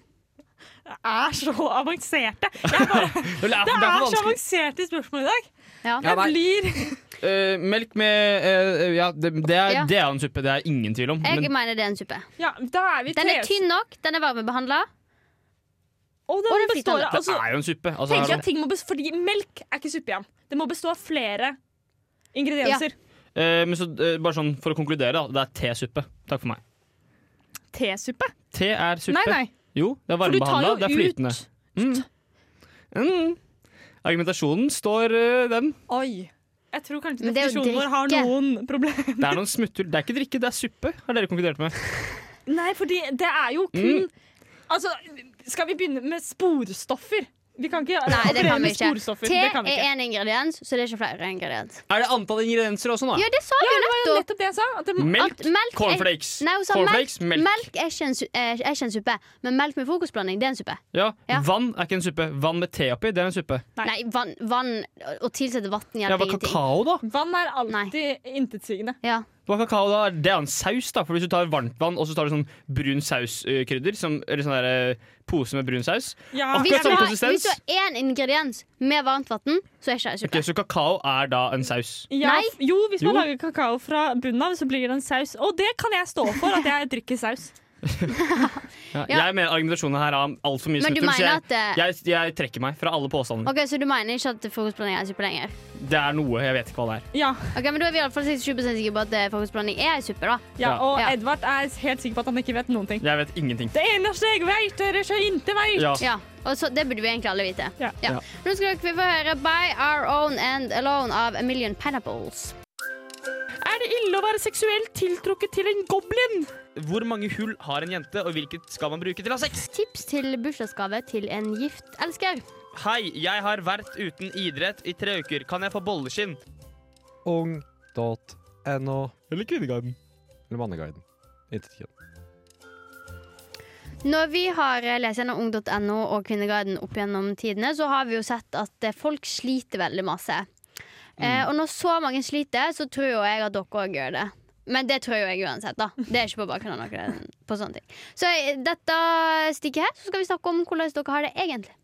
S1: er så avanserte. Jeg bare,
S2: Det er,
S1: det
S2: derfor
S1: er så
S2: vanskelig.
S1: avanserte spørsmål i dag.
S3: Ja.
S2: Ja,
S1: Jeg
S2: nei.
S1: blir
S2: eh, melk med eh, Ja, det, det, er,
S3: Ja.
S2: det er en suppe, det er ingen tvil om.
S3: Jeg
S2: Men
S3: mener det er en suppe.
S1: Ja, da er vi
S3: Den er
S1: tre.
S3: tynn nok, den er varmebehandla.
S1: Og den,
S3: Og den
S1: består
S3: fritandla.
S1: av altså,
S2: det er jo en suppe. Altså,
S1: tenker
S2: er
S1: jeg at ting må bestå, Fordi melk er ikke suppe igjen. Det må bestå av flere ingredienser.
S2: det- eh, men så, eh, bare sånn for å konkludere, da. Det er tesuppe. Takk for meg.
S1: Tesuppe?
S2: Te er suppe.
S1: Nei, nei.
S2: Jo, det er
S1: For du tar
S2: varmebehandla.
S1: jo
S2: Det er flytende.
S1: ut
S2: Mm. Argumentasjonen står eh, den.
S1: Oi. Jeg tror kanskje
S3: Men det er jo
S1: definisjonen vår har
S3: drikke.
S1: noen problemer.
S2: Det er noen smutthull. Det er ikke drikke, det er suppe, har dere konkludert med.
S1: Nei, fordi det er jo kun
S2: Mm.
S1: Altså, skal vi begynne med sporstoffer? Vi kan ikke
S3: Nei, det
S1: operere
S3: kan vi
S1: med
S3: ikke. E
S1: sporstoffer.
S3: Te
S1: det kan vi
S3: er
S1: ikke.
S3: én ingrediens, så det er ikke flere ingrediens.
S2: Er det antall ingredienser også, da?
S3: Ja, det sa du jo
S1: Det var
S3: nettopp!
S1: nettopp det jeg sa. At det,
S2: Melk,
S3: At melk er-
S2: cornflakes.
S3: Nei, hun sa
S2: Cornflakes, melk.
S3: Melk er ikke en, su eh, er ikke en suppe, men melk med frokostblanding det er en suppe.
S2: Ja.
S3: Ja.
S2: Vann er ikke en suppe. Vann med te oppi, det er en suppe.
S1: Nei.
S3: Nei, vann, vann Å tilsette vann
S2: Ja,
S3: hjelper
S2: Hva
S3: ingenting.
S2: kakao, da?
S1: vann er alltid intetsigende.
S3: Ja.
S2: Hva kakao da? Det er en saus, da. For hvis du tar varmt vann og så tar du sånn brun sauskrydder, som, eller sånn der, eh, pose med brun saus
S1: Ja, jeg
S2: Akkurat
S3: Hvis du,
S2: sånn
S1: vil-
S3: har,
S2: konsistens.
S3: hvis du har én ingrediens med varmt vann, så er ikke det en
S2: Ok,
S3: suppe.
S2: Så kakao er da en saus.
S1: ja,
S3: Nei.
S1: f- Jo, hvis man
S2: Jo.
S1: lager kakao fra bunnen av, så blir det en saus. Og det kan jeg stå for, at jeg drikker saus.
S2: Ja.
S3: Ja.
S2: Jeg mener argumentasjonen her har altfor mye
S3: Men du
S2: smutthull, så
S3: mener
S2: jeg,
S3: at eh,
S2: jeg, jeg trekker meg fra alle påstandene.
S3: Ok, Så du mener ikke at frokostblanding er en suppe lenger?
S2: Det er noe, jeg vet ikke hva det er.
S1: Ja,
S3: Ok, Men da er vi i alle fall 67 sikre på at eh, frokostblanding er en suppe, da.
S1: ja
S2: Ja.
S1: Og
S3: Ja.
S1: Edvard er helt sikker på at han ikke vet noen ting.
S2: Jeg vet ingenting.
S1: Det eneste jeg vet, er ikke inte veit.
S2: Ja.
S3: Ja, og så, Det burde vi egentlig alle vite.
S1: Ja.
S2: Ja.
S3: Nå skal dere få høre By Our Own and Alone av A Million Pineapples.
S1: Er det ille å være seksuelt tiltrukket til en goblin?
S2: Hvor mange hull har en jente, og hvilket skal man bruke til å ha sex?
S3: Tips til bursdagsgave til en gift elsker.
S2: Hei, jeg har vært uten idrett i tre uker. Kan jeg få bolleskinn?
S11: Ung.no.
S2: Eller Kvinneguiden.
S11: Eller Manneguiden. Intet kjønn.
S3: Når vi har eh, lest gjennom ung.no og Kvinneguiden opp gjennom tidene, så har vi jo sett at eh, folk sliter veldig masse. Eh,
S1: Mm.
S3: og når så mange sliter, så tror jo jeg at dere òg gjør det. Men det tror jo jeg uansett, da. Det er ikke på bakgrunn av noe på sånne ting. Så i dette stikket her så skal vi snakke om hvordan dere har det egentlig.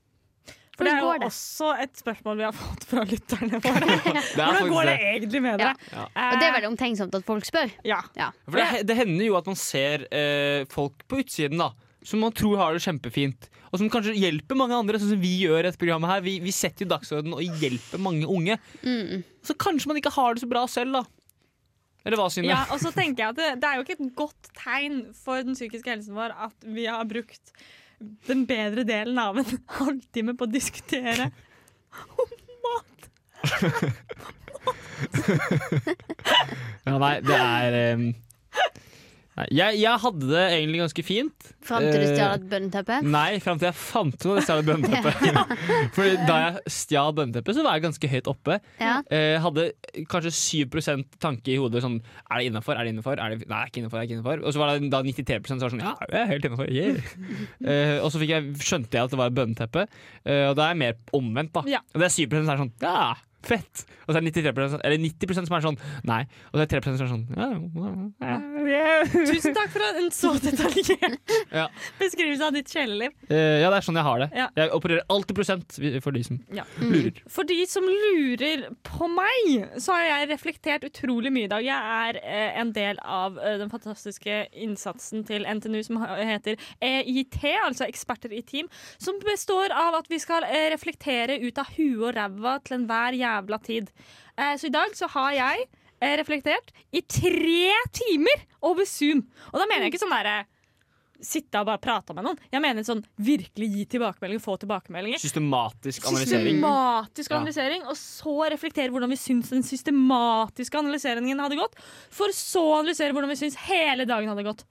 S1: For det er
S3: Hvordan
S1: jo
S3: går det?
S1: også et spørsmål vi har fått fra lytterne våre. Hvordan går det egentlig med dere?
S2: Ja.
S3: Og det er veldig omtenksomt at folk spør.
S1: Ja.
S3: Ja.
S2: For det, det hender jo at man ser eh, folk på utsiden da som man tror har det kjempefint, og som kanskje hjelper mange andre. Sånn som Vi gjør i dette programmet her Vi, vi setter jo dagsorden og hjelper mange unge.
S3: Mm,
S2: Så kanskje man ikke har det så bra selv, da. Eller hva, Synne?
S1: Ja, og så tenker jeg at det, det er jo ikke et godt tegn for den psykiske helsen vår at vi har brukt den bedre delen av en halvtime på å diskutere om mat.
S2: Ja, nei, det er eh, nei, jeg, jeg hadde det egentlig ganske fint.
S3: Fram til du
S2: Eh,
S3: stjal et bønneteppe.
S2: Nei, fram til jeg fant noe av det stjal bønneteppet. Fordi da jeg stjal bønneteppet, så var jeg ganske høyt oppe.
S3: Ja.
S2: Eh, hadde kanskje 7 tanke i hodet sånn Er det innafor? Er det innafor? Nei, det er ikke innafor. Er det ikke innenfor? og så var det da 93 som var sånn Ja, jeg er helt innafor. Yeah. Eh, og så fikk jeg, skjønte jeg at det var et bønneteppe, eh, og da er jeg mer omvendt, da.
S1: Ja.
S2: Og det er 7 som er sånn Ja, fett! Og så er det 93 som- eller 90 som er sånn Nei. Og det er 3 som er sånn ja, ja, ja, ja.
S1: Tusen takk for en så detaljert
S2: Ja.
S1: beskrivelse av ditt kjæleliv.
S2: Eh, ja, det er sånn jeg har det.
S1: Ja.
S2: Jeg opererer alltid prosent for de som
S1: Ja.
S2: lurer.
S1: For de som lurer på meg, så har jeg reflektert utrolig mye i dag. Jeg er eh, en del av eh, den fantastiske innsatsen til NTNU som ha- heter EIT, altså Eksperter i team, som består av at vi skal eh, reflektere ut av huet og ræva til enhver jævla tid. Eh, så i dag så har jeg eh, reflektert i tre timer over Zoom. Og da mener jeg ikke sånn derre Sitte og bare prate med noen. Jeg mener sånn virkelig gi tilbakemeldinger, få tilbakemeldinger.
S2: Systematisk analysering.
S1: Systematisk
S2: Ja.
S1: analysering, og så reflektere hvordan vi syns den systematiske analyseringen hadde gått, for så å analysere hvordan vi syns hele dagen hadde gått.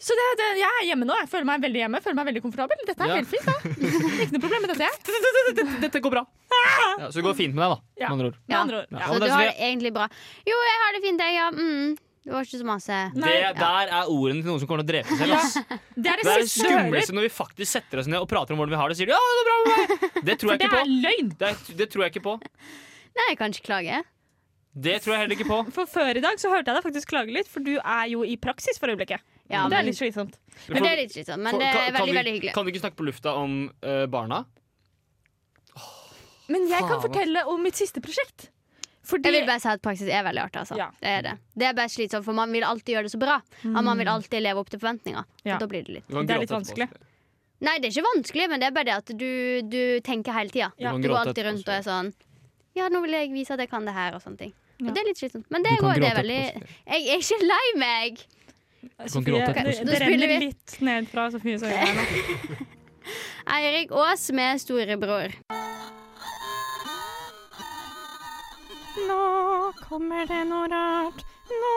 S1: Så det, det, jeg er hjemme nå. Jeg føler meg veldig hjemme, jeg føler meg veldig komfortabel. Dette er
S2: Ja.
S1: helt fint. da. Ikke noe problem med dette. jeg.
S2: Dette går bra. Ja, så det går fint med deg, da.
S1: Ja.
S2: Med andre ord.
S1: Med andre ord.
S2: Ja.
S1: Ja. altså,
S3: Så
S2: men
S3: du
S2: det er
S3: har
S2: så
S3: det egentlig bra. Jo, jeg har det fint, jeg. Ja. Mm. Det var ikke så masse.
S1: Nei,
S2: det der er ordene til noen som kommer til å drepe seg selv.
S1: Ja.
S2: ass.
S1: Det er
S2: Det
S1: det
S2: er
S1: siste
S2: det
S1: du hører.
S2: skumleste når vi faktisk setter oss ned og prater om hvordan vi har det, og sier de, ja, det er bra med meg. Det tror jeg
S1: Det
S2: ikke
S1: er
S2: på.
S1: løgn.
S2: Det, er, det tror jeg ikke på.
S3: Nei, jeg kan ikke klage.
S2: Det tror jeg heller ikke på.
S1: For før i dag så hørte jeg deg faktisk klage litt, for du er jo i praksis for øyeblikket.
S3: Ja,
S1: Mm. det er
S3: men-
S1: litt slitsomt.
S3: Men det er litt slitsomt. Men
S2: For-
S3: det
S2: kan-
S3: er
S2: kan
S3: veldig,
S2: vi-
S3: veldig hyggelig.
S2: Kan vi ikke snakke på lufta om eh, barna?
S1: Men jeg kan
S2: Faen, ass.
S1: fortelle om mitt siste prosjekt. Fordi
S3: Jeg vil bare si at praksis er veldig artig. Altså.
S1: Ja.
S3: Det er det. Det er bare slitsomt, for man vil alltid gjøre det så bra. Og man vil alltid leve opp til forventninger.
S1: Ja.
S3: Og da blir det litt
S2: Du kan
S1: Det er
S2: gråte
S1: litt
S2: etterpå.
S1: vanskelig.
S3: Nei, det er ikke vanskelig, men det er bare det at du, du tenker hele tida.
S1: Ja.
S2: kan
S3: Du går
S2: gråte
S3: alltid
S2: etterpå
S3: rundt og
S2: også.
S3: er sånn Ja, nå vil jeg vise at jeg kan det her, og sånne ting.
S1: Ja.
S3: Og det er litt slitsomt. Men det
S5: Du kan
S3: går, det er
S5: gråte
S3: veldig
S5: etterpå,
S3: Jeg er ikke lei meg!
S1: Sofie,
S5: gråte etterpå,
S1: det,
S5: Sofie.
S1: det
S3: Da spiller
S1: renner
S3: vi.
S1: litt ned fra Sofies øyne her nå.
S3: Eirik Aas med storebror.
S1: Nå kommer det noe rart. Nå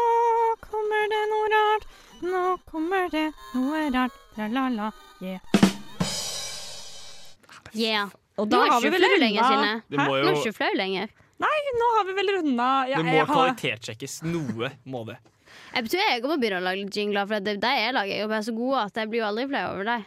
S1: kommer det noe rart. Nå kommer det noe rart. Tra-la-la.
S3: Yeah.
S1: Og
S3: Nå er ikke du flau lenger, Synne.
S2: Det må
S3: Nå er du
S2: jo
S3: ikke flau lenger.
S1: Nå har vi vel runda ja,
S2: det må
S1: jeg har-
S2: kvalitetssjekkes. Noe må det.
S3: Jeg tror jeg må begynne å lage litt jingler, for det, de jeg lager, er jo bare så gode at jeg blir jo aldri flau over dem.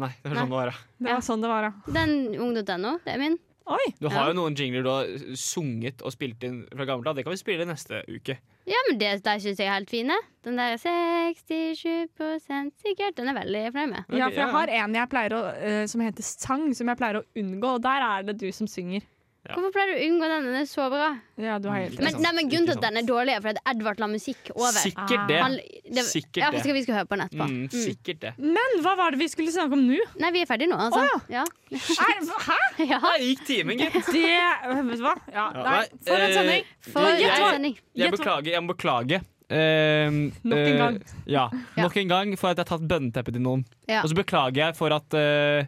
S2: Nei, det er sånn det må være.
S1: Det var sånn det var, ja.
S3: Den ung.no, det er min.
S1: Oi!
S2: Du har jo noen jingler du har sunget og spilt inn fra gammelt av. Det kan vi spille neste uke.
S3: Ja, men det, de syns jeg er helt fine. Den der 67 sikkert. Den er veldig fornøyd med.
S1: Ja,
S2: Ok,
S1: for jeg har en jeg pleier å, eh, som heter sang, som jeg pleier å unngå, og der er det du som synger.
S2: Ja.
S3: Hvorfor pleier du å unngå den? Den er så bra.
S1: Ja, du har helt
S3: Men,
S2: Ikke
S1: rett.
S2: sant,
S3: nei, men Grunnen til
S2: ikke
S3: at den er dårlig, er fordi at Edvard la musikk over. Ah.
S2: Sikkert
S3: Han,
S2: det.
S3: det,
S2: Sikkert
S3: ja, for
S2: det.
S3: skal vi skal høre på den etterpå.
S2: Mm, sikkert det.
S1: Men hva var det vi skulle snakke om nå?
S3: Nei, vi er ferdige nå, altså.
S1: Å,
S3: ja.
S1: Er, hæ?
S3: Ja.
S2: Der gikk timen, gitt.
S1: Det Vet du hva? Ja,
S2: Ja,
S1: nei,
S2: nei,
S1: for en
S2: eh,
S1: sending.
S3: For
S1: Men gjett
S3: en
S1: hva-
S3: sending.
S2: Jeg
S1: Gjett hva-
S2: beklager. Jeg må beklage. Eh,
S1: Nok en
S2: eh,
S1: gang.
S2: Ja,
S3: Ja.
S2: nok en gang for at jeg har tatt bønneteppet til noen.
S3: Ja.
S2: Og så beklager jeg for at eh,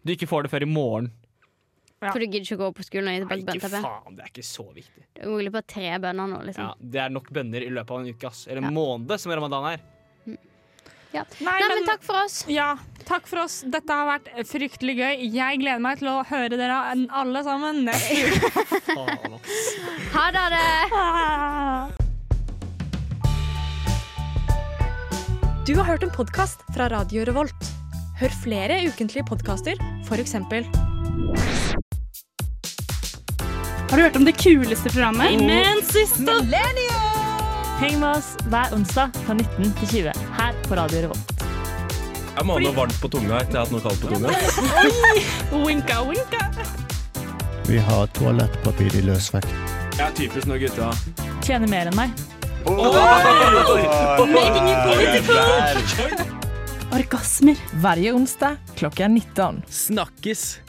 S2: du ikke får det før i morgen.
S1: Ja.
S3: For du gidder ikke å gå på skolen og gi
S2: Nei,
S3: tilbake
S2: ikke
S3: bønneteppet?
S2: faen, det er ikke så viktig.
S3: Du er mulig på tre bønner nå,
S2: Ja,
S3: liksom.
S2: det er nok bønner i løpet av en uke, ass. Eller en
S3: Ja.
S2: måned, som ramadan er.
S1: Nei,
S3: Nei, men takk for oss.
S1: Ja, takk for oss. Dette har vært fryktelig gøy. Jeg gleder meg til å høre dere alle sammen. Nei.
S2: Faen, ass.
S3: Ha det! dere.
S4: Du har hørt en podkast fra Radio Revolt. Hør flere ukentlige podkaster, f.eks.
S12: Har du hørt om det kuleste programmet?
S1: Men siste
S12: Heng med oss hver onsdag fra 19 til 20 her på Radio Revolt.
S9: Jeg må ha noe varmt på tunga etter jeg har hatt noe kaldt på tunga.
S1: Winka, winka.
S13: Vi har toalettpapir i løsvekt.
S9: Jeg er typisk når gutta
S12: Tjener mer enn meg.
S1: Making it political.
S12: Orgasmer.
S5: Snakkes!